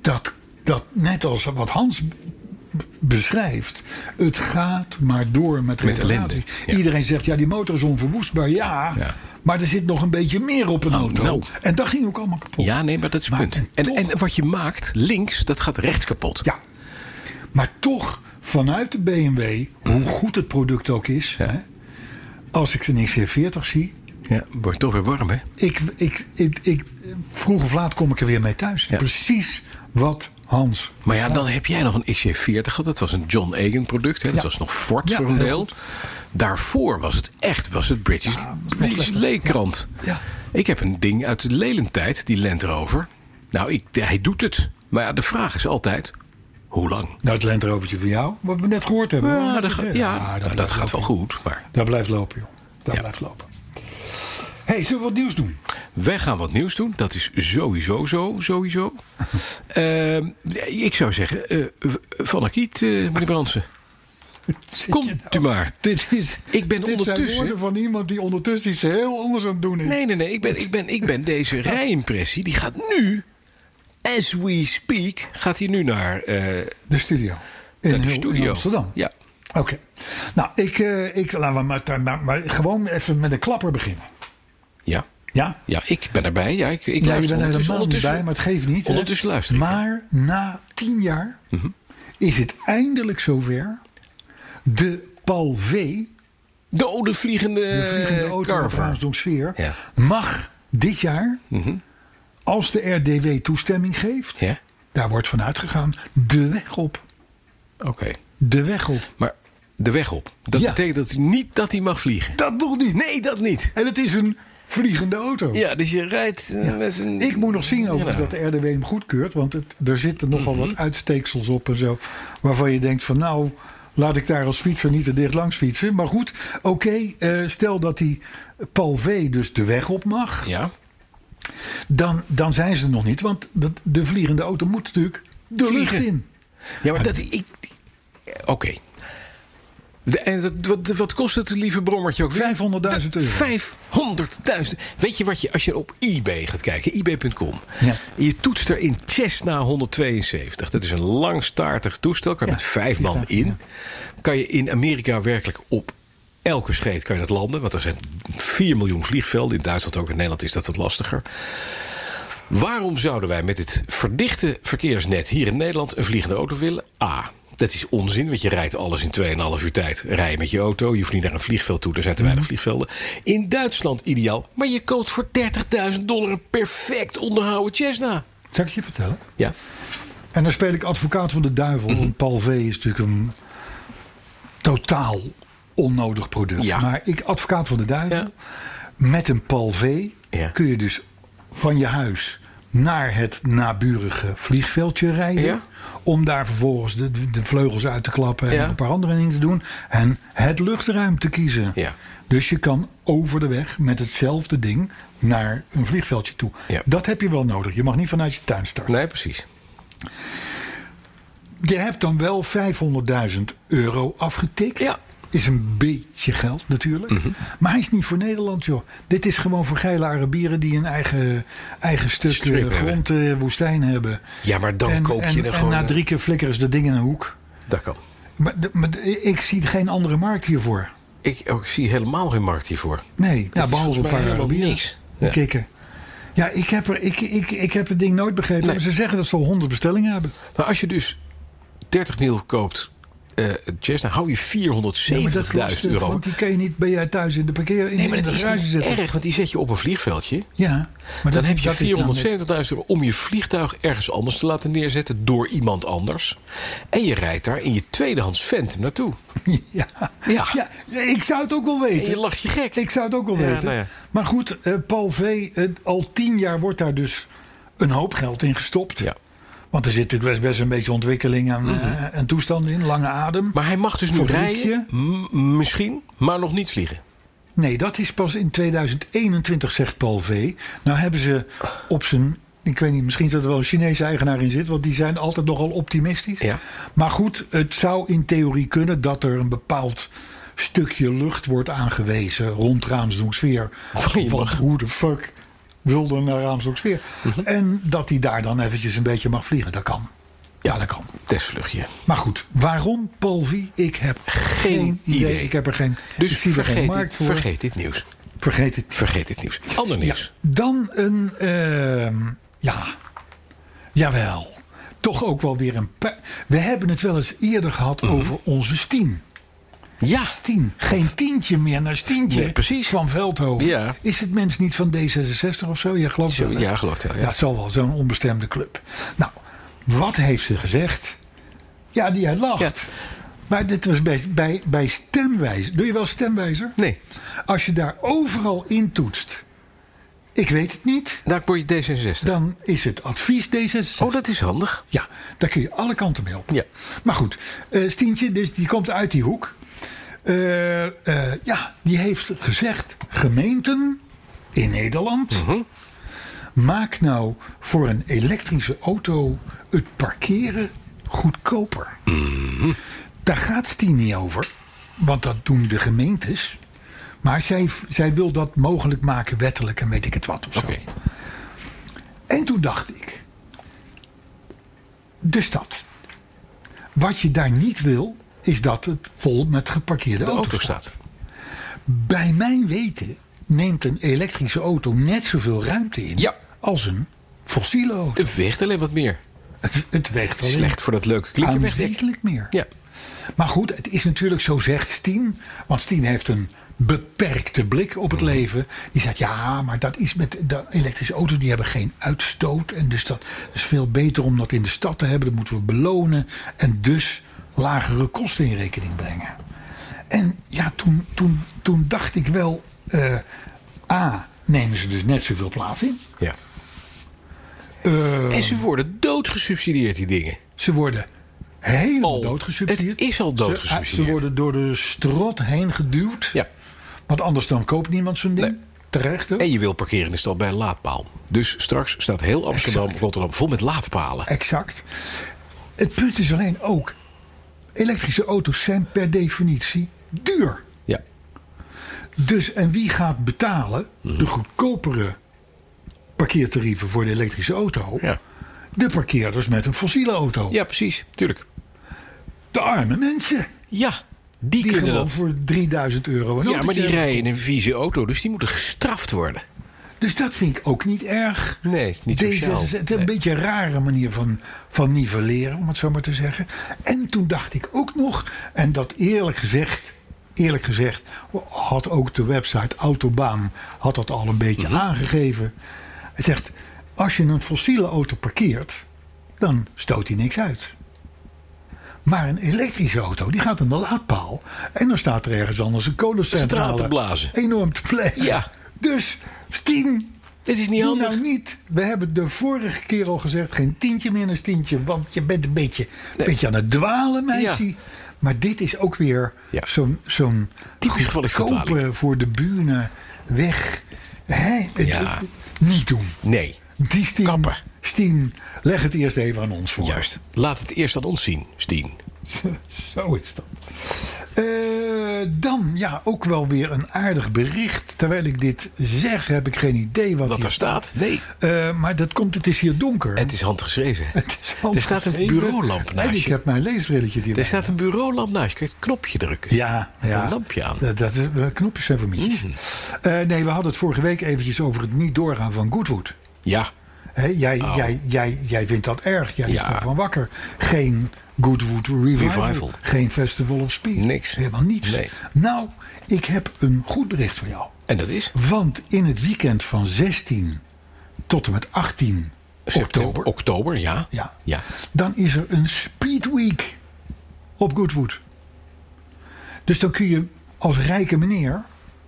[SPEAKER 2] dat, dat net als wat Hans b- beschrijft, het gaat maar door met,
[SPEAKER 3] Met
[SPEAKER 2] reparatie.
[SPEAKER 3] ellende, ja.
[SPEAKER 2] Iedereen zegt, ja, die motor is onverwoestbaar. Ja,
[SPEAKER 3] Ja.
[SPEAKER 2] maar er zit nog een beetje meer op een
[SPEAKER 3] Oh,
[SPEAKER 2] auto.
[SPEAKER 3] nou.
[SPEAKER 2] En dat ging ook allemaal kapot.
[SPEAKER 3] Ja, nee, maar dat is het
[SPEAKER 2] Oh. Maar
[SPEAKER 3] punt. En,
[SPEAKER 2] toch-
[SPEAKER 3] en wat je maakt, links, dat gaat rechts kapot.
[SPEAKER 2] Ja. Maar toch, vanuit de BMW, hoe goed het product ook is, hè, als ik een XC40 zie,
[SPEAKER 3] Ja, wordt toch weer warm, hè?
[SPEAKER 2] ik, ik, ik, ik, vroeg of laat kom ik er weer mee thuis.
[SPEAKER 3] Ja.
[SPEAKER 2] Precies wat Hans.
[SPEAKER 3] Maar ja, dan heb jij nog een XJ40 gehad. Dat was een John Egan product. Hè? Dat
[SPEAKER 2] Ja.
[SPEAKER 3] was nog Ford
[SPEAKER 2] Ja,
[SPEAKER 3] voor een
[SPEAKER 2] heel
[SPEAKER 3] deel.
[SPEAKER 2] goed.
[SPEAKER 3] Daarvoor was het echt was het British,
[SPEAKER 2] nog
[SPEAKER 3] British
[SPEAKER 2] slechter.
[SPEAKER 3] Leekrant.
[SPEAKER 2] Ja.
[SPEAKER 3] Ik heb een ding uit de Lelentijd, die Land Rover. Nou, ik, hij doet het. Maar ja, de vraag is altijd, hoe lang?
[SPEAKER 2] Nou, het lenterovertje van jou, wat we net gehoord hebben.
[SPEAKER 3] Ja,
[SPEAKER 2] Maar
[SPEAKER 3] dat, ga-
[SPEAKER 2] eh,
[SPEAKER 3] ja,
[SPEAKER 2] nou,
[SPEAKER 3] nou, dat
[SPEAKER 2] blijft
[SPEAKER 3] gaat wel
[SPEAKER 2] lopen.
[SPEAKER 3] goed. Maar
[SPEAKER 2] Dat blijft lopen, joh. Dat
[SPEAKER 3] Ja.
[SPEAKER 2] blijft lopen. hey, zullen we wat nieuws doen?
[SPEAKER 3] wij gaan wat nieuws doen. Dat is sowieso zo, sowieso. Ehm, ik zou zeggen, eh, v- van Akiet, eh, meneer Bransen.
[SPEAKER 5] Zit je
[SPEAKER 3] Komt
[SPEAKER 2] [LAUGHS]
[SPEAKER 3] u maar.
[SPEAKER 5] Dit, is,
[SPEAKER 3] Ik ben
[SPEAKER 5] dit
[SPEAKER 3] ondertussen-
[SPEAKER 5] zijn woorden van iemand die ondertussen iets heel anders aan het doen is.
[SPEAKER 3] Nee, nee, nee. Ik ben, ik ben, ik ben deze rijimpressie. Die gaat nu, as we speak, gaat hij nu naar, eh,
[SPEAKER 2] De studio. In,
[SPEAKER 3] naar de
[SPEAKER 2] Hul- in
[SPEAKER 3] studio.
[SPEAKER 2] Amsterdam.
[SPEAKER 3] Ja.
[SPEAKER 2] Oké. Nou, ik, eh, ik, laten we maar, maar, maar gewoon even met een klapper beginnen.
[SPEAKER 3] Ja.
[SPEAKER 2] Ja?
[SPEAKER 3] ja, ik ben erbij. Ja, ik, ik
[SPEAKER 2] ja, je
[SPEAKER 3] luister
[SPEAKER 2] bent er
[SPEAKER 3] ondertussen-
[SPEAKER 2] helemaal niet
[SPEAKER 3] ondertussen-
[SPEAKER 2] bij, maar het geeft niet. hè?
[SPEAKER 3] Ondertussen luister ik. Mhm.
[SPEAKER 2] Maar na tien jaar is het eindelijk zover. De Pal V,
[SPEAKER 3] De oude vliegende,
[SPEAKER 2] de vliegende auto uit de
[SPEAKER 3] Eh, carver.
[SPEAKER 2] Armstronksfeer,
[SPEAKER 3] Ja. Mhm.
[SPEAKER 2] mag dit jaar, als de RDW toestemming geeft,
[SPEAKER 3] Ja,
[SPEAKER 2] daar wordt van uitgegaan, de weg op.
[SPEAKER 3] oké.
[SPEAKER 2] De weg op.
[SPEAKER 3] Maar de weg op. Dat
[SPEAKER 2] Ja.
[SPEAKER 3] betekent dat hij niet dat hij mag vliegen.
[SPEAKER 5] Dat nog niet.
[SPEAKER 3] Nee, dat niet.
[SPEAKER 5] En het is een vliegende auto.
[SPEAKER 3] Ja, dus je rijdt eh, met een...
[SPEAKER 2] Ik moet nog zien over
[SPEAKER 3] Ja. Mhm.
[SPEAKER 2] dat de RDW hem goedkeurt. Want het, er zitten nogal wat uitsteeksels op en zo. Waarvan je denkt van nou, laat ik daar als fietser niet te dicht langs fietsen. Maar goed, oké, eh, stel dat die Paul V dus de weg op mag.
[SPEAKER 3] Ja,
[SPEAKER 2] Dan, dan zijn ze er nog niet. Want de, de vliegende auto moet natuurlijk de
[SPEAKER 3] Vliegen.
[SPEAKER 2] lucht in.
[SPEAKER 3] ja maar dat... Ik, Oké. De- En dat- wat, wat kost het lieve brommertje ook weer?
[SPEAKER 2] 500.000 euro.
[SPEAKER 3] 500.000. Weet je wat je, als je op eBay gaat kijken, eBay.com.
[SPEAKER 2] Ja.
[SPEAKER 3] Je toetst erin Cessna 172. Dat is een langstaartig toestel. Kan je
[SPEAKER 2] Ja,
[SPEAKER 3] met vijf
[SPEAKER 2] die
[SPEAKER 3] man
[SPEAKER 2] gaat,
[SPEAKER 3] in. Kan je in Amerika werkelijk op elke scheet kan je dat landen. Want er zijn 4 miljoen vliegvelden. In Duitsland ook. In Nederland is dat wat lastiger. Waarom zouden wij met dit verdichte verkeersnet hier in Nederland een vliegende auto willen? A. Dat is onzin, want je rijdt alles in 2,5 uur tijd. Rij je met je auto, je hoeft niet naar een vliegveld toe, er zijn te
[SPEAKER 2] Mhm.
[SPEAKER 3] weinig vliegvelden. In Duitsland ideaal, maar je koopt voor 30.000 dollar een perfect onderhouden Cessna.
[SPEAKER 2] Zal ik je vertellen?
[SPEAKER 3] Ja,
[SPEAKER 2] En dan speel ik advocaat van de duivel.
[SPEAKER 3] Mhm.
[SPEAKER 2] Want Paul V is natuurlijk een totaal onnodig product.
[SPEAKER 3] Ja.
[SPEAKER 2] Maar ik, advocaat van de duivel.
[SPEAKER 3] Ja.
[SPEAKER 2] Met een Paul V
[SPEAKER 3] Ja.
[SPEAKER 2] kun je dus van je huis naar het naburige vliegveldje rijden.
[SPEAKER 3] Ja.
[SPEAKER 2] Om daar vervolgens de, de vleugels uit te klappen en
[SPEAKER 3] Ja.
[SPEAKER 2] een paar andere dingen te doen. En het luchtruim te kiezen.
[SPEAKER 3] Ja.
[SPEAKER 2] Dus je kan over de weg met hetzelfde ding naar een vliegveldje toe.
[SPEAKER 3] Ja.
[SPEAKER 2] Dat heb je wel nodig. Je mag niet vanuit je tuin starten.
[SPEAKER 3] Nee, precies.
[SPEAKER 2] Je hebt dan wel 500.000 euro afgetikt.
[SPEAKER 3] Ja. Mhm.
[SPEAKER 2] Is een beetje geld natuurlijk. Maar hij is niet voor Nederland, joh. Dit is gewoon voor geile Arabieren die een eigen, eigen stuk
[SPEAKER 3] Strip
[SPEAKER 2] eh,
[SPEAKER 3] hebben.
[SPEAKER 2] grond, eh, woestijn hebben.
[SPEAKER 3] Ja, maar dan
[SPEAKER 2] en,
[SPEAKER 3] koop je
[SPEAKER 2] en,
[SPEAKER 3] er
[SPEAKER 2] en
[SPEAKER 3] gewoon,
[SPEAKER 2] na
[SPEAKER 3] eh,
[SPEAKER 2] drie keer flikkeren ze dat ding in een hoek.
[SPEAKER 3] Dat kan.
[SPEAKER 2] Maar, de- maar de- ik zie geen andere markt hiervoor.
[SPEAKER 3] Ik, ook zie helemaal geen markt hiervoor.
[SPEAKER 2] Nee, ja,
[SPEAKER 3] is
[SPEAKER 2] behalve een
[SPEAKER 3] volgens mij
[SPEAKER 2] paar
[SPEAKER 3] helemaal
[SPEAKER 2] Arabieren.
[SPEAKER 3] niks.
[SPEAKER 2] Die
[SPEAKER 3] Ja.
[SPEAKER 2] kikken. Ja, ik heb, er, ik, ik, ik heb het ding nooit begrepen.
[SPEAKER 3] Nee.
[SPEAKER 2] Maar ze zeggen dat ze al 100 bestellingen hebben.
[SPEAKER 3] Maar als je dus 30 mil koopt, eh Jazz, dan hou je 470.000
[SPEAKER 2] Ja, maar dat is lastig,
[SPEAKER 3] euro.
[SPEAKER 2] Want die kan je niet bij jij thuis in de parkeer in,
[SPEAKER 3] Nee, maar
[SPEAKER 2] in
[SPEAKER 3] dat
[SPEAKER 2] de
[SPEAKER 3] is
[SPEAKER 2] garage
[SPEAKER 3] niet
[SPEAKER 2] zitten.
[SPEAKER 3] erg, want die zet je op een vliegveldje.
[SPEAKER 2] Ja, maar
[SPEAKER 3] Dan
[SPEAKER 2] dat-
[SPEAKER 3] heb
[SPEAKER 2] dat is
[SPEAKER 3] je
[SPEAKER 2] dan net- [LAUGHS]
[SPEAKER 3] 470.000 euro om je vliegtuig ergens anders te laten neerzetten door iemand anders. En je rijdt daar in je tweedehands vent naartoe.
[SPEAKER 2] Ja.
[SPEAKER 3] Ja.
[SPEAKER 2] Ja. ik zou het ook wel
[SPEAKER 3] En
[SPEAKER 2] weten.
[SPEAKER 3] je lacht je gek.
[SPEAKER 2] Ik zou het ook wel
[SPEAKER 3] Ja,
[SPEAKER 2] weten.
[SPEAKER 3] nou ja.
[SPEAKER 2] Maar goed, eh, Paul V, eh, al tien jaar wordt daar dus een hoop geld in gestopt.
[SPEAKER 3] Ja. Mhm.
[SPEAKER 2] Want er zit natuurlijk best, best een beetje ontwikkeling en, eh, en toestanden in, lange adem.
[SPEAKER 3] Maar hij mag dus nu
[SPEAKER 2] Fabriekje.
[SPEAKER 3] rijden, m- misschien, maar nog niet vliegen.
[SPEAKER 2] Nee, dat is pas in 2021, zegt Paul V. Nou hebben ze op zijn. Ik weet niet, misschien dat er wel een Chinese eigenaar in zit, want die zijn altijd nogal optimistisch.
[SPEAKER 3] Ja.
[SPEAKER 2] Maar goed, het zou in theorie kunnen dat er een bepaald stukje lucht wordt aangewezen rond Raamsdonksfeer.
[SPEAKER 3] Prima.
[SPEAKER 2] Van hoe de fuck wilde naar Raamsdonksfeer.
[SPEAKER 3] Mhm.
[SPEAKER 2] En dat hij daar dan eventjes een beetje mag vliegen. Dat kan. Ja, dat kan.
[SPEAKER 3] Testvluchtje.
[SPEAKER 2] Maar goed, waarom Paul V? Ik heb geen, idee.
[SPEAKER 3] idee.
[SPEAKER 2] Ik heb er geen. ik
[SPEAKER 3] Dus
[SPEAKER 2] zie er geen
[SPEAKER 3] vergeet dit,
[SPEAKER 2] markt voor.
[SPEAKER 3] vergeet dit nieuws.
[SPEAKER 2] vergeet het
[SPEAKER 3] Vergeet dit nieuws. Ander nieuws.
[SPEAKER 2] Dan een, ehm, ja, jawel. Toch ook wel weer een. pu- We hebben het wel eens eerder gehad over onze Stien.
[SPEAKER 3] Mhm. Ja.
[SPEAKER 2] Stien. Geen tientje meer naar Stientje.
[SPEAKER 3] Nee, precies.
[SPEAKER 2] Van Veldhoven.
[SPEAKER 3] Ja.
[SPEAKER 2] Is het mens niet van D66 of zo? Ja, geloof
[SPEAKER 3] Zo,
[SPEAKER 2] wel, hè?
[SPEAKER 3] ja, geloof het wel, ja.
[SPEAKER 2] Ja, het zal wel zo'n onbestemde club. Nou, wat heeft ze gezegd? Ja, die hij lacht.
[SPEAKER 3] Ja.
[SPEAKER 2] Maar dit was bij, bij, bij stemwijzer. Doe je wel stemwijzer?
[SPEAKER 3] Nee.
[SPEAKER 2] Als je daar overal in toetst. Ik weet het niet.
[SPEAKER 3] Daar word je D66.
[SPEAKER 2] Dan is het advies D66.
[SPEAKER 3] Oh, dat is handig.
[SPEAKER 2] Ja, daar kun je alle kanten mee op.
[SPEAKER 3] Ja.
[SPEAKER 2] Maar goed, eh, Stientje, dus die komt uit die hoek. Eh, eh, ja, die heeft gezegd: gemeenten in Nederland.
[SPEAKER 3] Mhm.
[SPEAKER 2] Maak nou voor een elektrische auto het parkeren goedkoper.
[SPEAKER 3] Mhm.
[SPEAKER 2] Daar gaat Stien niet over, want dat doen de gemeentes. Maar zij, zij wil dat mogelijk maken wettelijk en weet ik het wat of zo.
[SPEAKER 3] Oké.
[SPEAKER 2] En toen dacht ik, de stad. Wat je daar niet wil, is dat het vol met geparkeerde
[SPEAKER 3] De
[SPEAKER 2] auto's
[SPEAKER 3] auto
[SPEAKER 2] staat.
[SPEAKER 3] staat.
[SPEAKER 2] Bij mijn weten neemt een elektrische auto net zoveel ruimte in
[SPEAKER 3] Ja.
[SPEAKER 2] als een fossiele auto. [LAUGHS]
[SPEAKER 3] Het weegt alleen wat meer.
[SPEAKER 2] Het weegt alleen
[SPEAKER 3] Slecht voor dat leuke klinkerwegdek.
[SPEAKER 2] aanzienlijk meer.
[SPEAKER 3] Ja.
[SPEAKER 2] Maar goed, het is natuurlijk zo zegt Stien. Want Stien heeft een beperkte blik op het leven. Die zegt, ja, maar dat is met de elektrische auto's. Die hebben geen uitstoot. En dus dat is veel beter om dat in de stad te hebben. Dat moeten we belonen. En dus lagere kosten in rekening brengen. En ja, toen, toen, toen dacht ik wel... eh, A, nemen ze dus net zoveel plaats in.
[SPEAKER 3] ja.
[SPEAKER 2] Eh,
[SPEAKER 3] En ze worden doodgesubsidieerd, die dingen.
[SPEAKER 2] Ze worden helemaal
[SPEAKER 3] Al.
[SPEAKER 2] doodgesubsidieerd.
[SPEAKER 3] Oh, Het is al doodgesubsidieerd.
[SPEAKER 2] Ze, ze worden door de strot heen geduwd.
[SPEAKER 3] Ja.
[SPEAKER 2] Want anders dan koopt niemand zo'n ding.
[SPEAKER 3] Nee.
[SPEAKER 2] Terecht ook.
[SPEAKER 3] En je wil parkeren in de stad bij een laadpaal. Dus straks staat heel Amsterdam, Rotterdam vol met laadpalen.
[SPEAKER 2] Exact. Het punt is alleen ook... elektrische auto's zijn per definitie duur.
[SPEAKER 3] Ja.
[SPEAKER 2] Dus en wie gaat betalen
[SPEAKER 3] Mhm.
[SPEAKER 2] de goedkopere parkeertarieven voor de elektrische auto?
[SPEAKER 3] Ja.
[SPEAKER 2] De parkeerders met een fossiele auto.
[SPEAKER 3] ja, precies. Tuurlijk.
[SPEAKER 2] De arme mensen.
[SPEAKER 3] Ja, die,
[SPEAKER 2] Die
[SPEAKER 3] kunnen
[SPEAKER 2] gewoon
[SPEAKER 3] dat.
[SPEAKER 2] voor 3000 euro een
[SPEAKER 3] Ja, maar
[SPEAKER 2] autootje
[SPEAKER 3] die
[SPEAKER 2] hebben.
[SPEAKER 3] rijden in een vieze auto, dus die moeten gestraft worden.
[SPEAKER 2] Dus dat vind ik ook niet erg.
[SPEAKER 3] Nee, niet
[SPEAKER 2] Deze,
[SPEAKER 3] sociaal.
[SPEAKER 2] Het is een
[SPEAKER 3] Nee.
[SPEAKER 2] beetje een rare manier van, van nivelleren, om het zo maar te zeggen. En toen dacht ik ook nog, en dat eerlijk gezegd, eerlijk gezegd, had ook de website Autobaan had dat al een beetje
[SPEAKER 3] Mhm.
[SPEAKER 2] aangegeven. Het zegt, als je een fossiele auto parkeert, dan stoot hij niks uit. Maar een elektrische auto, die gaat aan de laadpaal. En dan staat er ergens anders een kolencentrale.
[SPEAKER 3] Centraal te blazen.
[SPEAKER 2] Enorm te plegen.
[SPEAKER 3] Ja.
[SPEAKER 2] Dus Stien,
[SPEAKER 3] Dit is niet
[SPEAKER 2] Doe
[SPEAKER 3] handig.
[SPEAKER 2] nou niet. We hebben de vorige keer al gezegd: geen tientje minus tientje. Want je bent een beetje, een beetje aan het dwalen, meisje.
[SPEAKER 3] Ja.
[SPEAKER 2] Maar dit is ook weer
[SPEAKER 3] Ja.
[SPEAKER 2] zo'n zo'n
[SPEAKER 3] Typisch geval van
[SPEAKER 2] goedkope
[SPEAKER 3] dwaling.
[SPEAKER 2] voor de bühne weg. Hè? Het-
[SPEAKER 3] Ja.
[SPEAKER 2] het- Niet doen.
[SPEAKER 3] Nee,
[SPEAKER 2] Die Stien,
[SPEAKER 3] Kappen.
[SPEAKER 2] Stien, leg het eerst even aan ons voor.
[SPEAKER 3] juist. Laat het eerst aan ons zien, Stien.
[SPEAKER 2] [LAUGHS] Zo is dat. Eh, dan, ja, ook wel weer een aardig bericht. Terwijl ik dit zeg, heb ik geen idee wat,
[SPEAKER 3] Wat
[SPEAKER 2] hier
[SPEAKER 3] er staat? Nee.
[SPEAKER 2] Eh, maar dat komt, het is hier donker.
[SPEAKER 3] Het is handgeschreven.
[SPEAKER 2] Het is
[SPEAKER 3] er staat een
[SPEAKER 2] handgeschreven.
[SPEAKER 3] bureaulamp
[SPEAKER 2] En
[SPEAKER 3] naast
[SPEAKER 2] ik
[SPEAKER 3] je.
[SPEAKER 2] heb mijn leesbrilletje die
[SPEAKER 3] [LAUGHS] Er staat een bureaulamp naast je. Kun je het knopje drukken?
[SPEAKER 2] ja,
[SPEAKER 3] Met
[SPEAKER 2] ja.
[SPEAKER 3] een lampje aan. Mm.
[SPEAKER 2] Dat, dat is, eh, knopjes zijn voor mietjes. Eh, nee, we hadden het vorige week eventjes over het niet doorgaan van Goodwood.
[SPEAKER 3] Ja.
[SPEAKER 2] Hè, jij, jij, jij, jij vindt dat erg. Jij
[SPEAKER 3] Nou. Ja.
[SPEAKER 2] ligt daarvan wakker. Geen Goodwood revival,
[SPEAKER 3] Revival.
[SPEAKER 2] Geen Festival of Speed.
[SPEAKER 3] Niks.
[SPEAKER 2] Helemaal niets.
[SPEAKER 3] Nee.
[SPEAKER 2] Nou, ik heb een goed bericht voor jou.
[SPEAKER 3] En dat is?
[SPEAKER 2] Want in het weekend van 16 tot en met 18 oktober.
[SPEAKER 3] September, oktober, ja.
[SPEAKER 2] Ja.
[SPEAKER 3] ja.
[SPEAKER 2] Dan is er een Speed Week op Goodwood. Dus dan kun je als rijke meneer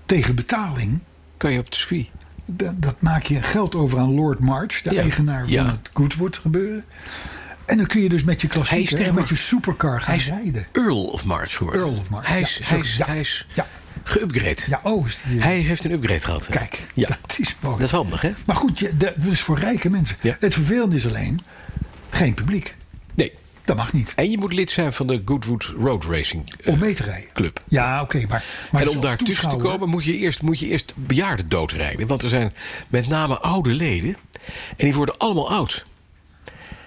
[SPEAKER 2] tegen betaling.
[SPEAKER 3] Kan je op de ski?
[SPEAKER 2] da- Dat maak je geld over aan Lord March, de
[SPEAKER 3] Ja.
[SPEAKER 2] eigenaar
[SPEAKER 3] Ja.
[SPEAKER 2] van het Goodwood gebeuren. En dan kun je dus met je
[SPEAKER 3] Hij
[SPEAKER 2] klassieker,
[SPEAKER 3] is
[SPEAKER 2] en met je
[SPEAKER 3] terug.
[SPEAKER 2] supercar gaan
[SPEAKER 3] Hij is
[SPEAKER 2] rijden.
[SPEAKER 3] Earl of March geworden.
[SPEAKER 2] Earl of March,
[SPEAKER 3] Hij
[SPEAKER 2] ja,
[SPEAKER 3] is,
[SPEAKER 2] zo-
[SPEAKER 3] hij is,
[SPEAKER 2] ja.
[SPEAKER 3] hij is
[SPEAKER 2] Ja.
[SPEAKER 3] geüpgrade.
[SPEAKER 2] Ja, oh, is die-
[SPEAKER 3] Hij heeft een upgrade gehad. hè?
[SPEAKER 2] Kijk,
[SPEAKER 3] ja.
[SPEAKER 2] dat is mooi.
[SPEAKER 3] Dat is handig, hè?
[SPEAKER 2] Maar goed, je- dat is voor rijke mensen.
[SPEAKER 3] Ja.
[SPEAKER 2] Het vervelende is alleen, geen publiek.
[SPEAKER 3] Nee.
[SPEAKER 2] Dat mag niet.
[SPEAKER 3] En je moet lid zijn van de Goodwood Road Racing eh,
[SPEAKER 2] Om mee te rijden.
[SPEAKER 3] Club.
[SPEAKER 2] Ja, oké. maar, maar
[SPEAKER 3] en om
[SPEAKER 2] als
[SPEAKER 3] daar tussen te
[SPEAKER 2] toeschouwer-
[SPEAKER 3] komen moet je, eerst, moet je eerst bejaarden doodrijden. Want er zijn met name oude leden. En die worden allemaal oud.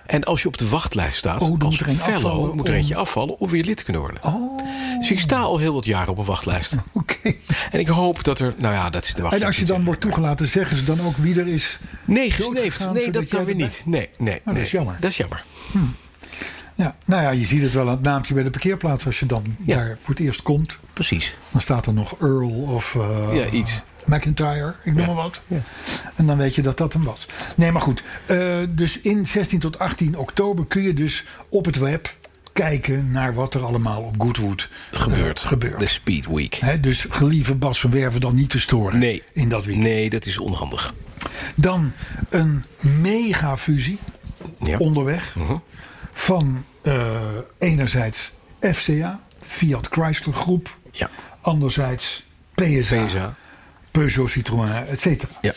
[SPEAKER 3] En als je op de wachtlijst staat,
[SPEAKER 2] Oh, dan
[SPEAKER 3] als
[SPEAKER 2] moet er een
[SPEAKER 3] fellow,
[SPEAKER 2] afvallen
[SPEAKER 3] moet er eentje
[SPEAKER 2] om-
[SPEAKER 3] afvallen om weer lid te kunnen worden.
[SPEAKER 2] Oh,
[SPEAKER 3] Dus ik sta al heel wat jaren op een wachtlijst.
[SPEAKER 2] [LAUGHS] oké.
[SPEAKER 3] En ik hoop dat er, nou ja, dat is de wachtlijst.
[SPEAKER 2] En als je dan wordt toegelaten, zeggen ze dan ook wie er is.
[SPEAKER 3] Nee,
[SPEAKER 2] doodgegaan,
[SPEAKER 3] gesneefd. Nee,
[SPEAKER 2] zodat
[SPEAKER 3] dat dan
[SPEAKER 2] jij
[SPEAKER 3] weer
[SPEAKER 2] erbij- Nou,
[SPEAKER 3] niet. Nee, nee,
[SPEAKER 2] dat
[SPEAKER 3] nee.
[SPEAKER 2] is jammer.
[SPEAKER 3] Dat is jammer.
[SPEAKER 2] Ja, nou ja, je ziet het wel aan het naampje bij de parkeerplaats. Als je dan
[SPEAKER 3] Ja.
[SPEAKER 2] daar voor het eerst komt,
[SPEAKER 3] Precies.
[SPEAKER 2] dan staat er nog Earl of eh,
[SPEAKER 3] Ja, iets.
[SPEAKER 2] McIntyre, ik noem maar wat. En dan weet je dat dat hem was. Nee, maar goed. eh, dus in 16 tot 18 oktober kun je dus op het web kijken naar wat er allemaal op Goodwood eh,
[SPEAKER 3] Gebeurt.
[SPEAKER 2] gebeurt.
[SPEAKER 3] De Speed Week.
[SPEAKER 2] Hè, dus gelieve Bas van Werven dan niet te storen
[SPEAKER 3] Nee.
[SPEAKER 2] in dat weekend.
[SPEAKER 3] Nee, dat is onhandig.
[SPEAKER 2] Dan een megafusie
[SPEAKER 3] Ja. Mhm.
[SPEAKER 2] onderweg van eh, enerzijds FCA, Fiat Chrysler Groep,
[SPEAKER 3] Ja.
[SPEAKER 2] anderzijds PSA,
[SPEAKER 3] PSA.
[SPEAKER 2] Peugeot Citroën, et cetera.
[SPEAKER 3] Ja.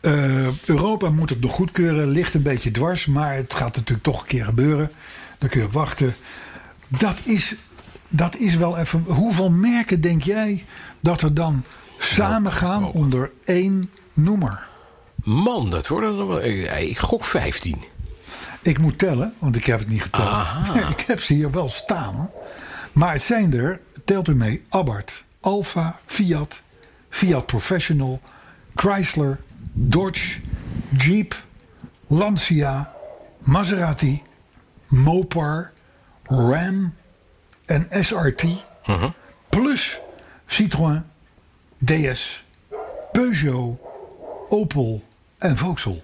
[SPEAKER 2] Eh, Europa moet het nog goedkeuren, ligt een beetje dwars, maar het gaat natuurlijk toch een keer gebeuren. Daar kun je op wachten. Dat is, dat is wel even. Hoeveel merken denk jij dat er dan samen gaan onder één noemer?
[SPEAKER 3] Man, dat worden er wel. eh, Ik gok 15.
[SPEAKER 2] Ik moet tellen, want ik heb het niet geteld.
[SPEAKER 3] Aha.
[SPEAKER 2] [LAUGHS] Ik heb ze hier wel staan. Maar het zijn er, telt u mee, Abarth, Alfa, Fiat, Fiat Professional, Chrysler, Dodge, Jeep, Lancia, Maserati, Mopar, Ram en SRT. Plus Citroën, DS, Peugeot, Opel en Vauxhall.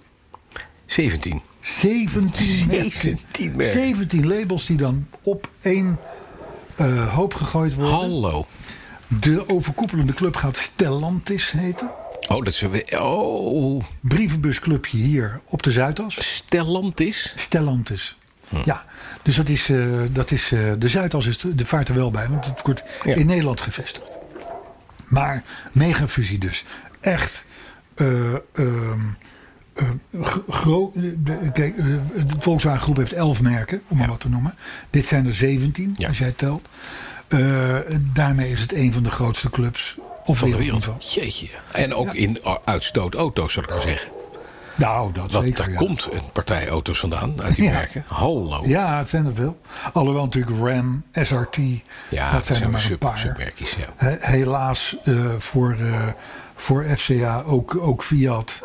[SPEAKER 3] 17.
[SPEAKER 2] 17 merken.
[SPEAKER 3] 17 merken.
[SPEAKER 2] 17 labels die dan op één eh, hoop gegooid worden.
[SPEAKER 3] Hallo.
[SPEAKER 2] De overkoepelende club gaat Stellantis heten.
[SPEAKER 3] Oh, dat is weer. Oh,
[SPEAKER 2] Brievenbusclubje hier op de Zuidas.
[SPEAKER 3] Stellantis.
[SPEAKER 2] Stellantis.
[SPEAKER 3] Hm.
[SPEAKER 2] Ja, dus dat is, eh, dat is eh, de Zuidas is de, de vaart er wel bij, want het wordt
[SPEAKER 3] Ja.
[SPEAKER 2] in Nederland gevestigd. Maar megafusie dus. Echt eh, ehm, eh, gro- gro- eh, de- Kijk, eh, de Volkswagen Groep heeft 11 merken, om maar wat te noemen. Dit zijn er 17,
[SPEAKER 3] Ja.
[SPEAKER 2] als jij het telt. Eh, daarmee is het een van de grootste clubs op
[SPEAKER 3] Van de
[SPEAKER 2] wereldniveau.
[SPEAKER 3] wereld. Jeetje. En ook in o- uitstoot auto's, zou ik maar zeggen.
[SPEAKER 2] Nou, dat
[SPEAKER 3] Want
[SPEAKER 2] zeker.
[SPEAKER 3] daar
[SPEAKER 2] ja.
[SPEAKER 3] komt een partij auto's vandaan uit die
[SPEAKER 2] Ja.
[SPEAKER 3] merken. Hallo.
[SPEAKER 2] Ja, het zijn er veel. Alhoewel natuurlijk RAM, SRT,
[SPEAKER 3] Ja,
[SPEAKER 2] dat
[SPEAKER 3] dat
[SPEAKER 2] zijn er
[SPEAKER 3] zijn
[SPEAKER 2] maar een
[SPEAKER 3] sub-
[SPEAKER 2] paar.
[SPEAKER 3] submerkjes, ja.
[SPEAKER 2] He- helaas eh, voor, eh, voor FCA ook, ook Fiat,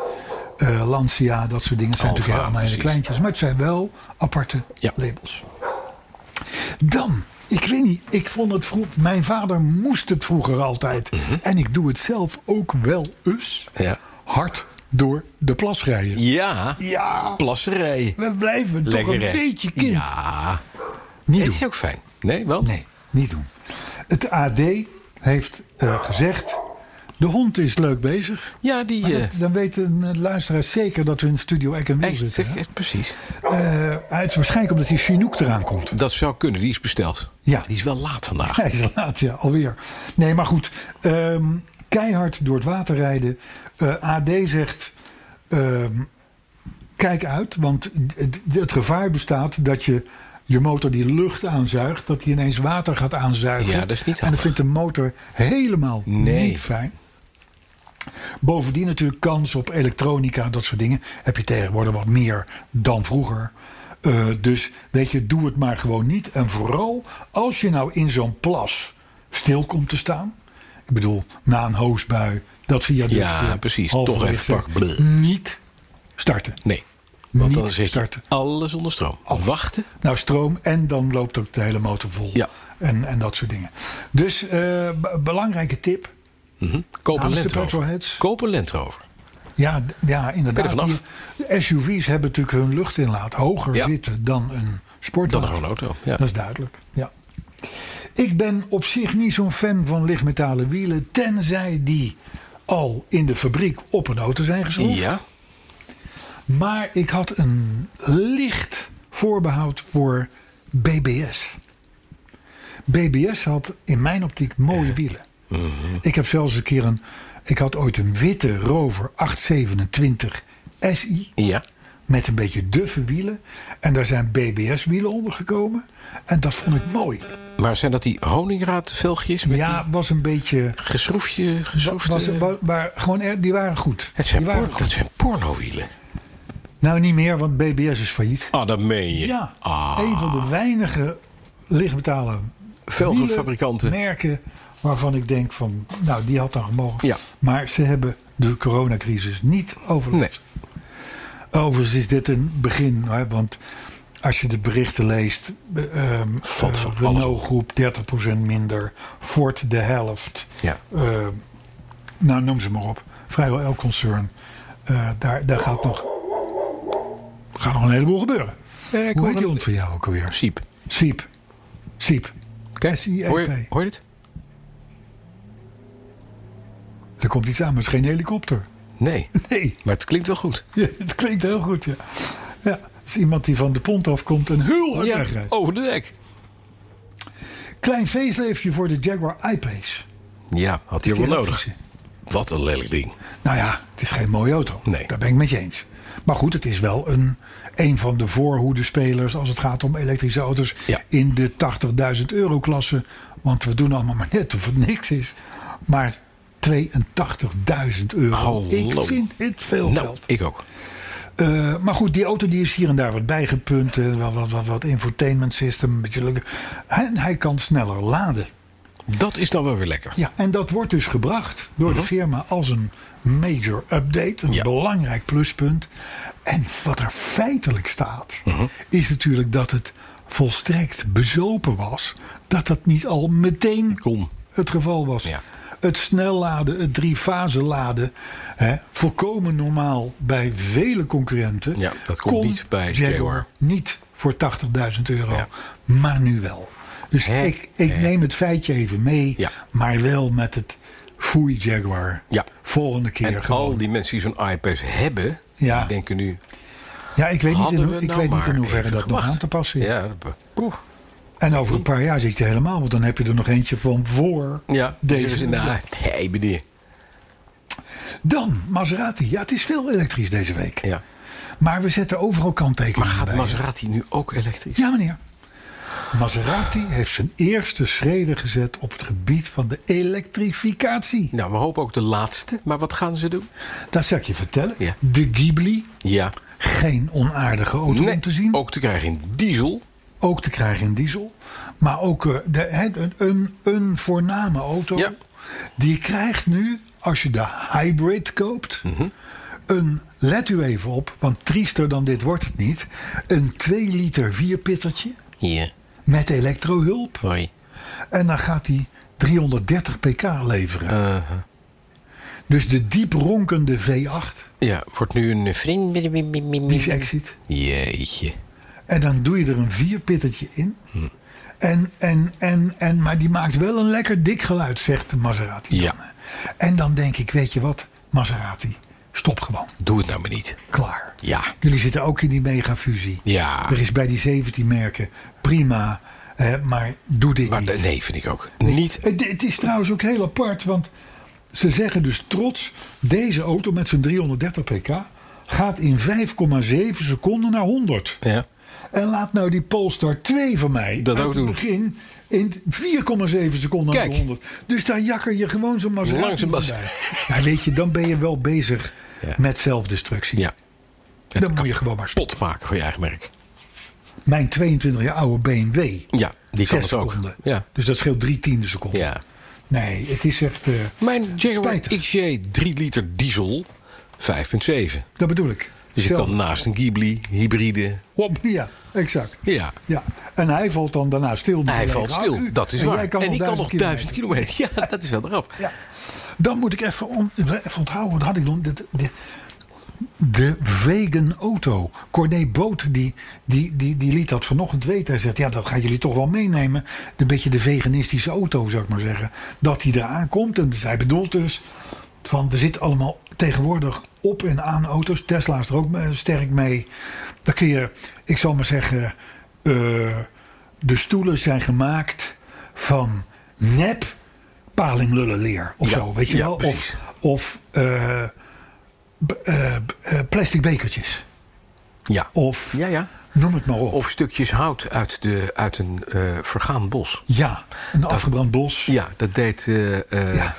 [SPEAKER 2] eh, Lancia, dat soort dingen zijn
[SPEAKER 3] Alfa,
[SPEAKER 2] natuurlijk allemaal hele
[SPEAKER 3] precies.
[SPEAKER 2] kleintjes. Maar het zijn wel aparte
[SPEAKER 3] Ja.
[SPEAKER 2] labels. Dan, ik weet niet, ik vond het vroeg. Mijn vader moest het vroeger altijd. En ik doe het zelf ook wel eens.
[SPEAKER 3] Mhm. Ja.
[SPEAKER 2] Hard door de plas rijden.
[SPEAKER 3] Ja.
[SPEAKER 2] Ja.
[SPEAKER 3] Plasserij.
[SPEAKER 2] We blijven toch een
[SPEAKER 3] Lekker hè?
[SPEAKER 2] beetje kind.
[SPEAKER 3] Ja.
[SPEAKER 2] Niet
[SPEAKER 3] Dat
[SPEAKER 2] doen.
[SPEAKER 3] is ook fijn. Nee, want?
[SPEAKER 2] Nee, niet doen. Het AD heeft eh, gezegd: De hond is leuk bezig.
[SPEAKER 3] Ja, die...
[SPEAKER 2] Maar
[SPEAKER 3] eh,
[SPEAKER 2] dat- dan weten eh, luisteraars zeker dat we in Studio Eck en Wiel
[SPEAKER 3] echt,
[SPEAKER 2] zitten.
[SPEAKER 3] zeg,
[SPEAKER 2] hè?
[SPEAKER 3] echt, precies.
[SPEAKER 2] Eh, het is waarschijnlijk omdat die Chinook eraan komt.
[SPEAKER 3] Dat zou kunnen, die is besteld.
[SPEAKER 2] Ja.
[SPEAKER 3] Die is wel laat vandaag.
[SPEAKER 2] Hij is laat, ja, alweer. Nee, maar goed. ehm, keihard door het water rijden. Eh, AD zegt... ehm, kijk uit, want het, het gevaar bestaat dat je je motor die lucht aanzuigt... dat die ineens water gaat aanzuigen.
[SPEAKER 3] Ja, dat is niet
[SPEAKER 2] En dat
[SPEAKER 3] handig.
[SPEAKER 2] vindt de motor helemaal
[SPEAKER 3] Nee.
[SPEAKER 2] niet fijn. Bovendien natuurlijk kans op elektronica, dat soort dingen. Heb je tegenwoordig wat meer dan vroeger. Eh, dus weet je, doe het maar gewoon niet. En vooral als je nou in zo'n plas stil komt te staan. Ik bedoel, na een hoosbui, dat viaduct.
[SPEAKER 3] Ja,
[SPEAKER 2] eh,
[SPEAKER 3] precies.
[SPEAKER 2] halverwege
[SPEAKER 3] Toch even
[SPEAKER 2] zit.
[SPEAKER 3] pakken. Bleh.
[SPEAKER 2] Niet starten.
[SPEAKER 3] Nee. Want dan
[SPEAKER 2] Niet
[SPEAKER 3] zit je
[SPEAKER 2] starten.
[SPEAKER 3] alles onder stroom. Wachten. Mhm.
[SPEAKER 2] Nou, stroom en dan loopt ook de hele motor vol.
[SPEAKER 3] Ja.
[SPEAKER 2] En, en dat soort dingen. Dus eh, b- belangrijke tip.
[SPEAKER 3] Mhm. Koop een
[SPEAKER 2] Namens de
[SPEAKER 3] Land Rover.
[SPEAKER 2] petrolheads.
[SPEAKER 3] Koop een Land Rover.
[SPEAKER 2] Ja, d- ja
[SPEAKER 3] Ben
[SPEAKER 2] inderdaad.
[SPEAKER 3] er vanaf.
[SPEAKER 2] Die- de SUV's hebben natuurlijk hun luchtinlaat hoger
[SPEAKER 3] Ja.
[SPEAKER 2] zitten dan een
[SPEAKER 3] Dan
[SPEAKER 2] sportwagen.
[SPEAKER 3] gewoon een auto. Ja.
[SPEAKER 2] Dat is duidelijk, ja. Ik ben op zich niet zo'n fan van lichtmetalen wielen... tenzij die al in de fabriek op een auto zijn geschroefd.
[SPEAKER 3] Ja.
[SPEAKER 2] Maar ik had een licht voorbehoud voor BBS. BBS had in mijn optiek mooie wielen.
[SPEAKER 3] Mhm.
[SPEAKER 2] Ik heb zelfs een keer een. Ik had ooit een witte Rover 827 SI.
[SPEAKER 3] Ja.
[SPEAKER 2] Met een beetje duffe wielen. En daar zijn BBS-wielen ondergekomen. En dat vond ik mooi.
[SPEAKER 3] Maar zijn dat die honingraadvelgjes met
[SPEAKER 2] Ja, was een beetje.
[SPEAKER 3] geschroefje, geschroefde...
[SPEAKER 2] Was, wa- maar gewoon, er- die waren goed.
[SPEAKER 3] het zijn
[SPEAKER 2] die waren
[SPEAKER 3] porno, dat zijn pornowielen.
[SPEAKER 2] Nou, niet meer, want BBS is failliet.
[SPEAKER 3] Ah, dat meen je.
[SPEAKER 2] Ja,
[SPEAKER 3] Ah.
[SPEAKER 2] een van de weinige lichtmetalen
[SPEAKER 3] Velgenfabrikanten.
[SPEAKER 2] merken waarvan ik denk van, nou die had dan gemogen.
[SPEAKER 3] Ja.
[SPEAKER 2] Maar ze hebben de coronacrisis niet overleefd. Overigens is dit een begin, hè, want als je de berichten leest, eh, ehm,
[SPEAKER 3] Valt
[SPEAKER 2] eh,
[SPEAKER 3] van alles
[SPEAKER 2] Renault groep 30% minder, Ford de helft.
[SPEAKER 3] Ja.
[SPEAKER 2] Eh, nou, noem ze maar op. Vrijwel elk concern. Eh, daar, daar gaat nog, gaat nog een heleboel gebeuren.
[SPEAKER 3] Eh, ik
[SPEAKER 2] Hoe
[SPEAKER 3] hoor
[SPEAKER 2] heet die
[SPEAKER 3] een-
[SPEAKER 2] hond van jou ook alweer?
[SPEAKER 3] Siep.
[SPEAKER 2] Siep. Siep.
[SPEAKER 3] Kijk,
[SPEAKER 2] SIEP.
[SPEAKER 3] hoor, je- hoor je dit?
[SPEAKER 2] Er komt iets aan, maar het is geen helikopter. [LAUGHS]
[SPEAKER 3] Nee.
[SPEAKER 2] Nee, [LAUGHS]
[SPEAKER 3] Maar het klinkt wel goed.
[SPEAKER 2] Ja, het klinkt heel goed, ja. Ja, het is iemand die van de pont afkomt en heel hard
[SPEAKER 3] Ja,
[SPEAKER 2] wegrijdt.
[SPEAKER 3] over de dek.
[SPEAKER 2] Klein feestleefje voor de Jaguar I-Pace.
[SPEAKER 3] Ja, had hij
[SPEAKER 2] Die
[SPEAKER 3] wel nodig.
[SPEAKER 2] elektrische.
[SPEAKER 3] Wat een lelijk ding.
[SPEAKER 2] Nou ja, het is geen mooie auto.
[SPEAKER 3] Nee.
[SPEAKER 2] Daar ben ik met je eens. Maar goed, het is wel een, een van de voorhoede spelers als het gaat om elektrische auto's
[SPEAKER 3] Ja.
[SPEAKER 2] in de 80.000 euro klasse. Want we doen allemaal [LAUGHS] maar net of het niks is. Maar 82.000 euro.
[SPEAKER 3] Hallo.
[SPEAKER 2] Ik vind het veel
[SPEAKER 3] Nou,
[SPEAKER 2] geld.
[SPEAKER 3] ik ook.
[SPEAKER 2] Eh, maar goed, die auto die is hier en daar wat bijgepunt. eh, Wat, wat, wat, wat infotainment system. Een beetje lukken. Hij, hij kan sneller laden.
[SPEAKER 3] Dat is dan wel weer lekker.
[SPEAKER 2] Ja, en dat wordt dus gebracht door de firma als een major update. Een
[SPEAKER 3] Mhm. Ja.
[SPEAKER 2] belangrijk pluspunt. En wat er feitelijk staat,
[SPEAKER 3] Mhm.
[SPEAKER 2] is natuurlijk dat het volstrekt bezopen was. Dat dat niet al meteen
[SPEAKER 3] Kom.
[SPEAKER 2] het geval was.
[SPEAKER 3] Ja.
[SPEAKER 2] Het snel laden, het drie-fase laden. Hè, volkomen normaal bij vele concurrenten.
[SPEAKER 3] Ja, dat komt
[SPEAKER 2] Kon
[SPEAKER 3] niet bij Jaguar.
[SPEAKER 2] Niet voor 80.000 euro,
[SPEAKER 3] Ja.
[SPEAKER 2] maar nu wel. Dus
[SPEAKER 3] Hè?
[SPEAKER 2] ik, ik
[SPEAKER 3] Hè?
[SPEAKER 2] neem het feitje even mee,
[SPEAKER 3] Ja.
[SPEAKER 2] maar wel met het foei Jaguar.
[SPEAKER 3] Ja.
[SPEAKER 2] Volgende keer
[SPEAKER 3] en
[SPEAKER 2] gewoon.
[SPEAKER 3] al die mensen die zo'n iPad hebben,
[SPEAKER 2] Ja.
[SPEAKER 3] die denken nu...
[SPEAKER 2] ja, ik weet niet in,
[SPEAKER 3] hadden
[SPEAKER 2] hoe-
[SPEAKER 3] we
[SPEAKER 2] ik
[SPEAKER 3] nou
[SPEAKER 2] weet niet
[SPEAKER 3] maar
[SPEAKER 2] in hoeverre
[SPEAKER 3] even
[SPEAKER 2] dat nog
[SPEAKER 3] gewacht.
[SPEAKER 2] aan te passen is.
[SPEAKER 3] Ja, dat be- Oeh.
[SPEAKER 2] En over een paar jaar zit je helemaal, want dan heb je er nog eentje van voor
[SPEAKER 3] ja
[SPEAKER 2] deze.
[SPEAKER 3] deze. Dus, nou, nee, meneer.
[SPEAKER 2] Dan Maserati. Ja, het is veel elektrisch deze week.
[SPEAKER 3] Ja.
[SPEAKER 2] Maar we zetten overal kanttekeningen
[SPEAKER 3] Maar gaat
[SPEAKER 2] bij.
[SPEAKER 3] Maserati nu ook elektrisch?
[SPEAKER 2] Ja, meneer. Maserati heeft zijn eerste schreden gezet op het gebied van de elektrificatie.
[SPEAKER 3] Nou, we hopen ook de laatste. Maar wat gaan ze doen?
[SPEAKER 2] Dat zal ik je vertellen.
[SPEAKER 3] Ja.
[SPEAKER 2] De Ghibli,
[SPEAKER 3] Ja.
[SPEAKER 2] geen onaardige auto
[SPEAKER 3] Nee,
[SPEAKER 2] om te zien.
[SPEAKER 3] Ook te krijgen in diesel.
[SPEAKER 2] Ook te krijgen in diesel. Maar ook eh, de, hè, een, een, een voorname auto.
[SPEAKER 3] Ja.
[SPEAKER 2] Die je krijgt nu, als je de hybrid koopt...
[SPEAKER 3] Mhm.
[SPEAKER 2] Een, let u even op, want triester dan dit wordt het niet. Een 2 liter vierpittertje
[SPEAKER 3] Ja.
[SPEAKER 2] met elektrohulp.
[SPEAKER 3] Hoi.
[SPEAKER 2] En dan gaat hij 330 pk leveren.
[SPEAKER 3] Uh-huh.
[SPEAKER 2] Dus de diep ronkende V8,
[SPEAKER 3] Ja, wordt nu een vriend.
[SPEAKER 2] die is exit.
[SPEAKER 3] Jeetje. Hm.
[SPEAKER 2] En dan doe je er een vierpittertje in. En, en, en, en, maar die maakt wel een lekker dik geluid, zegt de Maserati.
[SPEAKER 3] Ja.
[SPEAKER 2] Dan. En dan denk ik, weet je wat, Maserati, stop gewoon.
[SPEAKER 3] Doe het nou maar niet.
[SPEAKER 2] Klaar.
[SPEAKER 3] Ja.
[SPEAKER 2] Jullie zitten ook in die megafusie.
[SPEAKER 3] Ja.
[SPEAKER 2] Er is bij die 17 merken prima, hè, maar doe dit
[SPEAKER 3] Maar
[SPEAKER 2] niet.
[SPEAKER 3] de- nee, vind ik ook. Niet.
[SPEAKER 2] Eh, Het, het is trouwens ook heel apart, want ze zeggen dus trots: deze auto met zijn 330 pk gaat in 5,7 seconden naar 100.
[SPEAKER 3] Ja.
[SPEAKER 2] En laat nou die Polestar 2 van mij
[SPEAKER 3] Dat
[SPEAKER 2] uit
[SPEAKER 3] ook
[SPEAKER 2] het
[SPEAKER 3] doen.
[SPEAKER 2] begin in 4,7 seconden naar
[SPEAKER 3] Kijk.
[SPEAKER 2] de 100. Dus daar jakker je gewoon zo'n Maserati
[SPEAKER 3] Langs een Mas-
[SPEAKER 2] voorbij. Ja, weet je, dan ben je wel bezig
[SPEAKER 3] Ja.
[SPEAKER 2] met zelfdestructie.
[SPEAKER 3] Ja.
[SPEAKER 2] Dan moet je gewoon maar stoppen.
[SPEAKER 3] Pot maken van je eigen merk.
[SPEAKER 2] Mijn 22 jaar oude BMW.
[SPEAKER 3] Ja, die kan
[SPEAKER 2] Zes
[SPEAKER 3] het ook.
[SPEAKER 2] seconden.
[SPEAKER 3] Ja.
[SPEAKER 2] Dus dat scheelt drie tiende seconden.
[SPEAKER 3] Ja.
[SPEAKER 2] Nee, het is echt. eh,
[SPEAKER 3] Mijn Jaguar
[SPEAKER 2] spijtig.
[SPEAKER 3] XJ 3 liter diesel 5.7.
[SPEAKER 2] Dat bedoel ik.
[SPEAKER 3] Dus je
[SPEAKER 2] Zo.
[SPEAKER 3] kan naast een Ghibli, hybride. Wop.
[SPEAKER 2] [LAUGHS] Ja, exact.
[SPEAKER 3] Ja.
[SPEAKER 2] ja. En hij valt dan daarna stil. met
[SPEAKER 3] Hij
[SPEAKER 2] een
[SPEAKER 3] valt
[SPEAKER 2] lege accu.
[SPEAKER 3] stil, dat is
[SPEAKER 2] en
[SPEAKER 3] waar.
[SPEAKER 2] jij kan
[SPEAKER 3] En die kan nog
[SPEAKER 2] kilometer.
[SPEAKER 3] duizend kilometer. [LAUGHS] Ja, dat is wel eraf.
[SPEAKER 2] Ja. Dan moet ik even, on, even onthouden, wat had ik dan? De, de, de vegan auto. Corné Boot die, die, die, die liet dat vanochtend weten. Hij zegt, ja, dat gaan jullie toch wel meenemen. Een beetje de veganistische auto, zou ik maar zeggen. Dat die eraan komt. En dus hij bedoelt dus, van er zit allemaal tegenwoordig op en aan auto's. Tesla is er ook eh, sterk mee. Dan kun je, ik zal maar zeggen, eh, de stoelen zijn gemaakt van nep palinglullenleer of
[SPEAKER 3] Ja,
[SPEAKER 2] zo, weet je
[SPEAKER 3] ja,
[SPEAKER 2] wel?
[SPEAKER 3] precies.
[SPEAKER 2] Of, of eh, b- eh, b- eh, plastic bekertjes.
[SPEAKER 3] Ja.
[SPEAKER 2] Of
[SPEAKER 3] Ja, ja.
[SPEAKER 2] noem het maar op.
[SPEAKER 3] Of stukjes hout uit, de, uit een eh, vergaan bos.
[SPEAKER 2] ja, een afgebrand bos.
[SPEAKER 3] Ja, dat deed eh eh,
[SPEAKER 2] Ja.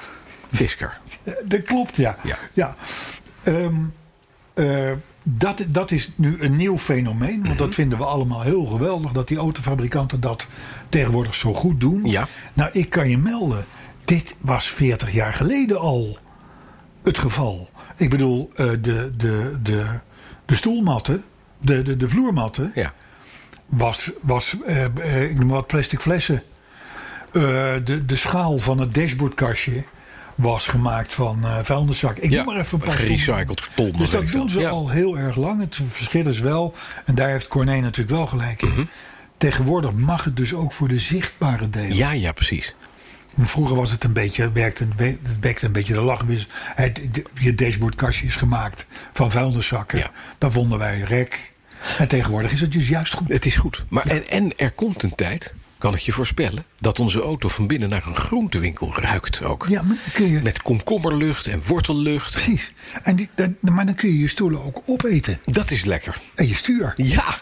[SPEAKER 3] Fisker.
[SPEAKER 2] Eh, Dat klopt, ja.
[SPEAKER 3] Ja.
[SPEAKER 2] Ehm, eh, dat, dat is nu een nieuw fenomeen. Want
[SPEAKER 3] Mhm.
[SPEAKER 2] dat vinden we allemaal heel geweldig. Dat die autofabrikanten dat tegenwoordig zo goed doen.
[SPEAKER 3] Ja.
[SPEAKER 2] Nou, ik kan je melden. Dit was 40 jaar geleden al het geval. Ik bedoel, eh, de, de, de, de stoelmatten, de, de, de vloermatten
[SPEAKER 3] Ja.
[SPEAKER 2] was, was eh, eh, ik noem maar wat plastic flessen. Eh, de, de schaal van het dashboardkastje was gemaakt van eh vuilniszak. Ik
[SPEAKER 3] Ja,
[SPEAKER 2] noem maar even een paar
[SPEAKER 3] gerecycled
[SPEAKER 2] stonden.
[SPEAKER 3] karton,
[SPEAKER 2] Dus
[SPEAKER 3] weet
[SPEAKER 2] dat
[SPEAKER 3] ik veel.
[SPEAKER 2] doen ze
[SPEAKER 3] Ja.
[SPEAKER 2] al heel erg lang. Het verschil is wel, en daar heeft Corné natuurlijk wel gelijk
[SPEAKER 3] Mhm.
[SPEAKER 2] in. Tegenwoordig mag het dus ook voor de zichtbare delen.
[SPEAKER 3] ja, ja, precies.
[SPEAKER 2] Vroeger was het een beetje, het werkte, een be- het wekte een beetje de lach. Dus het- de- Je dashboardkastje is gemaakt van vuilniszakken.
[SPEAKER 3] Ja.
[SPEAKER 2] Daar vonden wij rek. En tegenwoordig is het dus juist goed.
[SPEAKER 3] Het is goed. Maar en, en er komt een tijd, kan ik je voorspellen, dat onze auto van binnen naar een groentewinkel ruikt ook.
[SPEAKER 2] Ja, maar kun je,
[SPEAKER 3] Met komkommerlucht en wortellucht.
[SPEAKER 2] Precies. En die, dat- maar dan kun je je stoelen ook opeten.
[SPEAKER 3] Dat is lekker.
[SPEAKER 2] En je stuur.
[SPEAKER 3] Ja,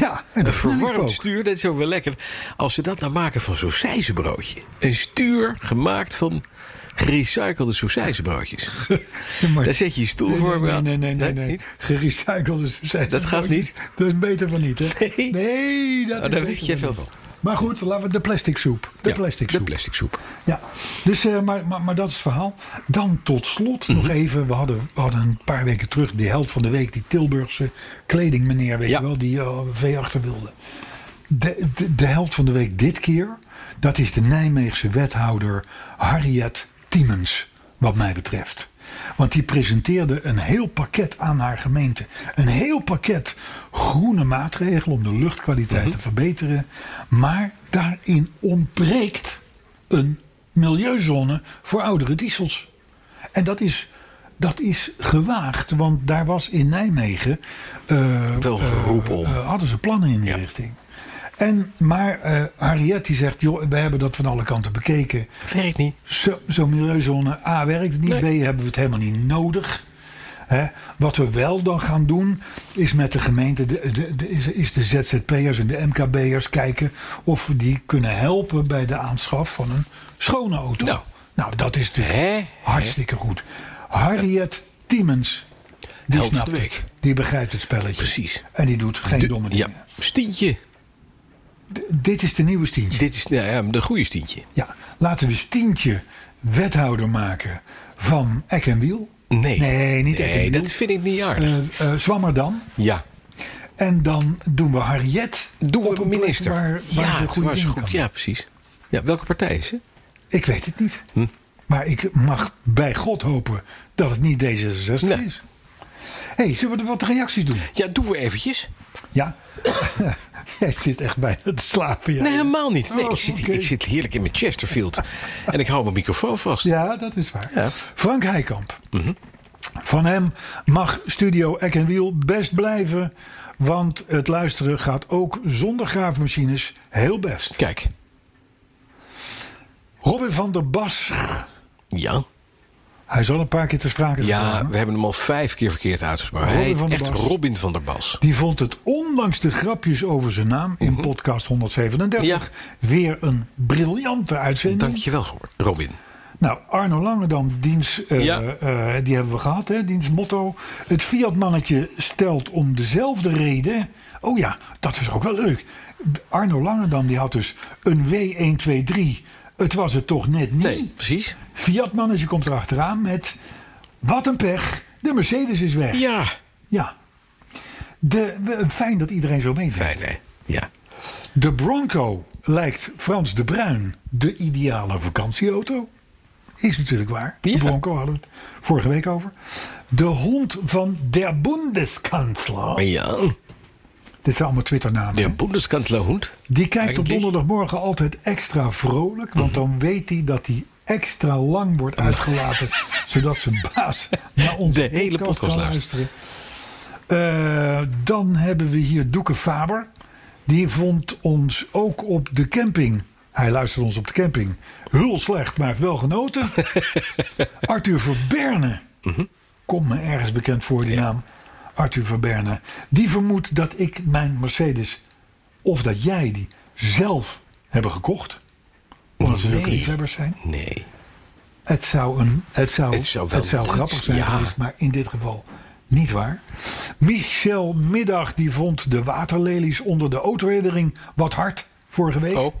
[SPEAKER 2] Ja, en
[SPEAKER 3] een
[SPEAKER 2] dat snap ik ook.
[SPEAKER 3] verwarmd stuur, dat is ook wel lekker. Als ze dat nou maken van sausijzenbroodje. Een stuur gemaakt van gerecyclede sausijzenbroodjes.
[SPEAKER 2] Ja, [LAUGHS] maar-
[SPEAKER 3] Daar zet je je stoel
[SPEAKER 2] nee,
[SPEAKER 3] voor,
[SPEAKER 2] Nee,
[SPEAKER 3] maar-
[SPEAKER 2] nee, nee. nee,
[SPEAKER 3] Nee,
[SPEAKER 2] nee.
[SPEAKER 3] niet?
[SPEAKER 2] Gerecyclede sausijzen.
[SPEAKER 3] Dat gaat niet.
[SPEAKER 2] Dat is beter van niet, hè?
[SPEAKER 3] [LAUGHS] Nee.
[SPEAKER 2] Nee, dat
[SPEAKER 3] Oh,
[SPEAKER 2] is
[SPEAKER 3] daar
[SPEAKER 2] beter
[SPEAKER 3] weet jij
[SPEAKER 2] van
[SPEAKER 3] veel
[SPEAKER 2] niet.
[SPEAKER 3] van.
[SPEAKER 2] Maar goed, laten we de plastic soep. De
[SPEAKER 3] Ja,
[SPEAKER 2] plastic
[SPEAKER 3] De
[SPEAKER 2] soep.
[SPEAKER 3] plastic soep.
[SPEAKER 2] Ja, dus, eh, maar, maar, maar dat is het verhaal. Dan tot slot
[SPEAKER 3] Mhm.
[SPEAKER 2] nog even, we hadden, we hadden een paar weken terug die held van de week, die Tilburgse kledingmeneer, weet
[SPEAKER 3] Ja.
[SPEAKER 2] je wel, die eh, vee achter wilde. De, de, de held van de week dit keer, dat is de Nijmeegse wethouder Harriet Tiemens, wat mij betreft. Want die presenteerde een heel pakket aan haar gemeente. Een heel pakket groene maatregelen om de luchtkwaliteit
[SPEAKER 3] Mhm.
[SPEAKER 2] te verbeteren. Maar daarin ontbreekt een milieuzone voor oudere diesels. En dat is, dat is gewaagd, want daar was in Nijmegen. eh,
[SPEAKER 3] Wel geroep om.
[SPEAKER 2] eh, hadden ze plannen in die
[SPEAKER 3] Ja.
[SPEAKER 2] richting. En, maar eh Harriet die zegt: joh, we hebben dat van alle kanten bekeken.
[SPEAKER 3] Werkt niet.
[SPEAKER 2] Zo- Zo'n milieuzone A werkt niet, B hebben we het helemaal niet nodig. Hè? Wat we wel dan gaan doen, is met de gemeente, de, de, de- is, is de ZZP'ers en de MKB'ers kijken of we die kunnen helpen bij de aanschaf van een schone auto.
[SPEAKER 3] Nou.
[SPEAKER 2] nou dat is natuurlijk
[SPEAKER 3] Hè? Hè?
[SPEAKER 2] hartstikke goed. Harriet Tiemens, die
[SPEAKER 3] Held van
[SPEAKER 2] snapt
[SPEAKER 3] de week.
[SPEAKER 2] het. Die begrijpt het spelletje.
[SPEAKER 3] Precies.
[SPEAKER 2] En die doet geen domme
[SPEAKER 3] Ja,
[SPEAKER 2] dingen.
[SPEAKER 3] stientje.
[SPEAKER 2] D- dit is de nieuwe Stientje.
[SPEAKER 3] Dit is nou ja, de goede stientje.
[SPEAKER 2] Ja, laten we Stientje wethouder maken van Eck en Wiel.
[SPEAKER 3] Nee.
[SPEAKER 2] Nee, niet Eck en
[SPEAKER 3] Nee,
[SPEAKER 2] Wiel.
[SPEAKER 3] dat vind ik niet aardig.
[SPEAKER 2] Eh, eh, Zwammerdam.
[SPEAKER 3] Ja.
[SPEAKER 2] En dan doen we Harriet.
[SPEAKER 3] Doen
[SPEAKER 2] op
[SPEAKER 3] we
[SPEAKER 2] een plek
[SPEAKER 3] minister.
[SPEAKER 2] Waar, waar
[SPEAKER 3] ja,
[SPEAKER 2] ze goede
[SPEAKER 3] waar ze
[SPEAKER 2] dingen
[SPEAKER 3] goed.
[SPEAKER 2] kan.
[SPEAKER 3] Ja, precies. Ja, welke partij is ze?
[SPEAKER 2] Ik weet het niet.
[SPEAKER 3] Hm?
[SPEAKER 2] Maar ik mag bij God hopen dat het niet D66
[SPEAKER 3] Nee.
[SPEAKER 2] is. Hé, hey, zullen we er wat reacties doen?
[SPEAKER 3] Ja, doen we eventjes.
[SPEAKER 2] Ja. [LAUGHS] Jij zit echt bijna te slapen. Ja.
[SPEAKER 3] Nee, helemaal niet. Nee,
[SPEAKER 2] Oh,
[SPEAKER 3] ik, zit, hier-
[SPEAKER 2] oké.
[SPEAKER 3] ik zit heerlijk in mijn
[SPEAKER 2] [LAUGHS]
[SPEAKER 3] Chesterfield. en ik hou mijn microfoon vast.
[SPEAKER 2] Ja, dat is waar.
[SPEAKER 3] Ja. Mhm.
[SPEAKER 2] Frank Heikamp. Van hem mag Studio Eck en Wiel best blijven. Want het luisteren gaat ook zonder graafmachines heel best.
[SPEAKER 3] Kijk.
[SPEAKER 2] Robin van der Bas.
[SPEAKER 3] Ja.
[SPEAKER 2] Hij zal een paar keer ter sprake
[SPEAKER 3] Ja,
[SPEAKER 2] gekomen.
[SPEAKER 3] we hebben hem al vijf keer verkeerd uitgesproken. Hij
[SPEAKER 2] Robin
[SPEAKER 3] heet
[SPEAKER 2] van der
[SPEAKER 3] echt
[SPEAKER 2] Bas.
[SPEAKER 3] Robin van der Bas.
[SPEAKER 2] Die vond het ondanks de grapjes over zijn naam in podcast 137
[SPEAKER 3] Mhm. Ja.
[SPEAKER 2] weer een briljante uitzending.
[SPEAKER 3] Dankjewel, Robin.
[SPEAKER 2] Nou, Arno Langedam, diens, eh,
[SPEAKER 3] Ja.
[SPEAKER 2] eh, die hebben we gehad, hè, diens motto. Het Fiat-mannetje stelt om dezelfde reden. Oh ja, dat is ook wel leuk. Arno Langedam die had dus een W123. Het was het toch net niet?
[SPEAKER 3] Nee, precies.
[SPEAKER 2] Fiat-mannetje komt erachteraan met... Wat een pech, de Mercedes is weg.
[SPEAKER 3] Ja.
[SPEAKER 2] Ja. De, we- fijn dat iedereen zo meevindt.
[SPEAKER 3] Nee, nee. Ja.
[SPEAKER 2] De Bronco lijkt Frans de Bruin de ideale vakantieauto. Is natuurlijk waar.
[SPEAKER 3] Ja.
[SPEAKER 2] De Bronco hadden we het vorige week over. De hond van der Bundeskanzler.
[SPEAKER 3] Ja.
[SPEAKER 2] Dit zijn allemaal Twitternamen.
[SPEAKER 3] De
[SPEAKER 2] hè?
[SPEAKER 3] Bundeskanzler Hund.
[SPEAKER 2] Die kijkt op
[SPEAKER 3] Eigenlijk.
[SPEAKER 2] donderdagmorgen altijd extra vrolijk.
[SPEAKER 3] Mhm.
[SPEAKER 2] Want dan weet hij dat hij extra lang wordt
[SPEAKER 3] [LAUGHS]
[SPEAKER 2] uitgelaten. zodat zijn baas naar onze
[SPEAKER 3] De hele
[SPEAKER 2] podcast
[SPEAKER 3] podcast
[SPEAKER 2] kan luisteren. Eh, dan hebben we hier Doeke Faber. Die vond ons ook op de camping. Hij luisterde ons op de camping. Heel slecht, maar heeft wel
[SPEAKER 3] [LAUGHS]
[SPEAKER 2] genoten. Arthur Verberne.
[SPEAKER 3] Mhm.
[SPEAKER 2] Komt me ergens bekend voor, die naam. Arthur Verberne. Die vermoedt dat ik mijn Mercedes of dat jij die zelf hebben gekocht. Omdat ze zulke
[SPEAKER 3] Nee.
[SPEAKER 2] liefhebbers zijn.
[SPEAKER 3] Nee.
[SPEAKER 2] Het zou, een, het zou,
[SPEAKER 3] Het
[SPEAKER 2] het
[SPEAKER 3] zou
[SPEAKER 2] zou,
[SPEAKER 3] wel leuk
[SPEAKER 2] grappig zijn
[SPEAKER 3] zijn, ja.
[SPEAKER 2] geweest, maar in dit geval niet waar. Michel Middag die vond de waterlelies onder de autoherinnering wat hard vorige week.
[SPEAKER 3] Oh. Mhm.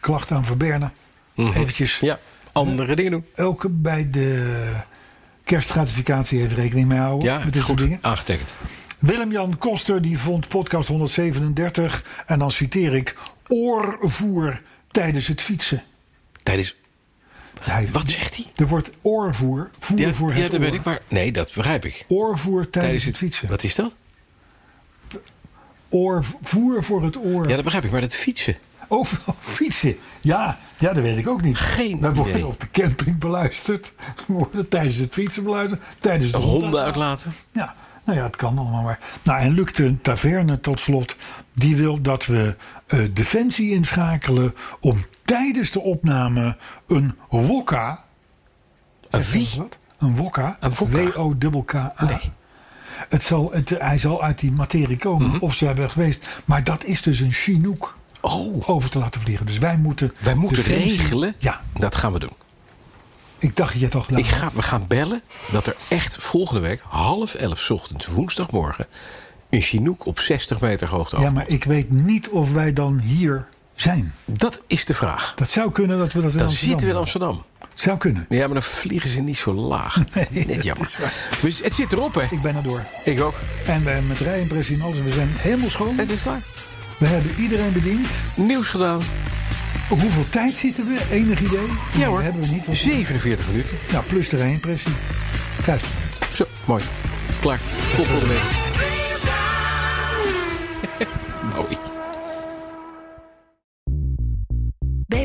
[SPEAKER 2] Klacht aan Verberne. Eventjes.
[SPEAKER 3] Ja. Andere dingen doen.
[SPEAKER 2] Elke bij de kerstgratificatie even rekening mee houden.
[SPEAKER 3] Ja,
[SPEAKER 2] met dit soort
[SPEAKER 3] goed.
[SPEAKER 2] dingen.
[SPEAKER 3] Aangetekend.
[SPEAKER 2] Willem-Jan Koster die vond podcast 137. En dan citeer ik oorvoer tijdens het fietsen.
[SPEAKER 3] Tijdens.
[SPEAKER 2] Hij-
[SPEAKER 3] Wat zegt hij?
[SPEAKER 2] Er wordt oorvoer. Voer
[SPEAKER 3] Ja,
[SPEAKER 2] voor het
[SPEAKER 3] ja dat
[SPEAKER 2] oor.
[SPEAKER 3] weet ik maar. Nee, dat begrijp ik.
[SPEAKER 2] Oorvoer tijdens het fietsen.
[SPEAKER 3] Wat is dat?
[SPEAKER 2] Oor, voer voor het oor.
[SPEAKER 3] Ja, dat begrijp ik. Maar dat fietsen.
[SPEAKER 2] Over fietsen. Ja, ja, dat weet ik ook niet.
[SPEAKER 3] Geen
[SPEAKER 2] Wij worden
[SPEAKER 3] idee.
[SPEAKER 2] op de camping beluisterd. We worden tijdens het fietsen beluisterd. Tijdens de
[SPEAKER 3] De honden
[SPEAKER 2] honden.
[SPEAKER 3] uitlaten.
[SPEAKER 2] Ja, nou ja, het kan allemaal maar. Nou, en Luc de Taverne tot slot. Die wil dat we eh, Defensie inschakelen om tijdens de opname een wokka...
[SPEAKER 3] Een
[SPEAKER 2] Zeg je
[SPEAKER 3] wie?
[SPEAKER 2] dat wat? Een wokka.
[SPEAKER 3] Een wokka.
[SPEAKER 2] W-O-K-K-A.
[SPEAKER 3] Nee.
[SPEAKER 2] Het zal, het, hij zal uit die materie komen
[SPEAKER 3] Mhm.
[SPEAKER 2] of ze hebben geweest. Maar dat is dus een Chinook
[SPEAKER 3] Oh.
[SPEAKER 2] over te laten vliegen. Dus wij moeten...
[SPEAKER 3] Wij moeten
[SPEAKER 2] Defensie-
[SPEAKER 3] regelen.
[SPEAKER 2] Ja,
[SPEAKER 3] Dat gaan we doen.
[SPEAKER 2] ik dacht dat je het al gedaan
[SPEAKER 3] Ik ga, we gaan bellen dat er echt volgende week, half elf 's ochtends, woensdagmorgen, een Chinook op 60 meter hoogte
[SPEAKER 2] had. Ja,
[SPEAKER 3] over.
[SPEAKER 2] maar ik weet niet of wij dan hier zijn.
[SPEAKER 3] Dat is de vraag.
[SPEAKER 2] Dat zou kunnen dat we dat in
[SPEAKER 3] Dan
[SPEAKER 2] Amsterdam
[SPEAKER 3] zitten we in
[SPEAKER 2] doen.
[SPEAKER 3] Amsterdam.
[SPEAKER 2] Zou kunnen.
[SPEAKER 3] Ja, maar dan vliegen ze niet zo laag. [LAUGHS] Dat is net jammer. Dus het zit erop, hè?
[SPEAKER 2] Ik ben er door.
[SPEAKER 3] Ik ook.
[SPEAKER 2] En we hebben met rijimpressie en alles. We zijn helemaal schoon.
[SPEAKER 3] Het is klaar.
[SPEAKER 2] We hebben iedereen bediend.
[SPEAKER 3] Nieuws gedaan.
[SPEAKER 2] Op hoeveel tijd zitten we? Enig idee?
[SPEAKER 3] Ja hoor.
[SPEAKER 2] Hebben we niet. want-
[SPEAKER 3] 47 minuten.
[SPEAKER 2] Nou, plus de rijimpressie. Kijk.
[SPEAKER 3] Zo, mooi. Klaar. Tot volgende week. [LAUGHS] Mooi.
[SPEAKER 6] Bij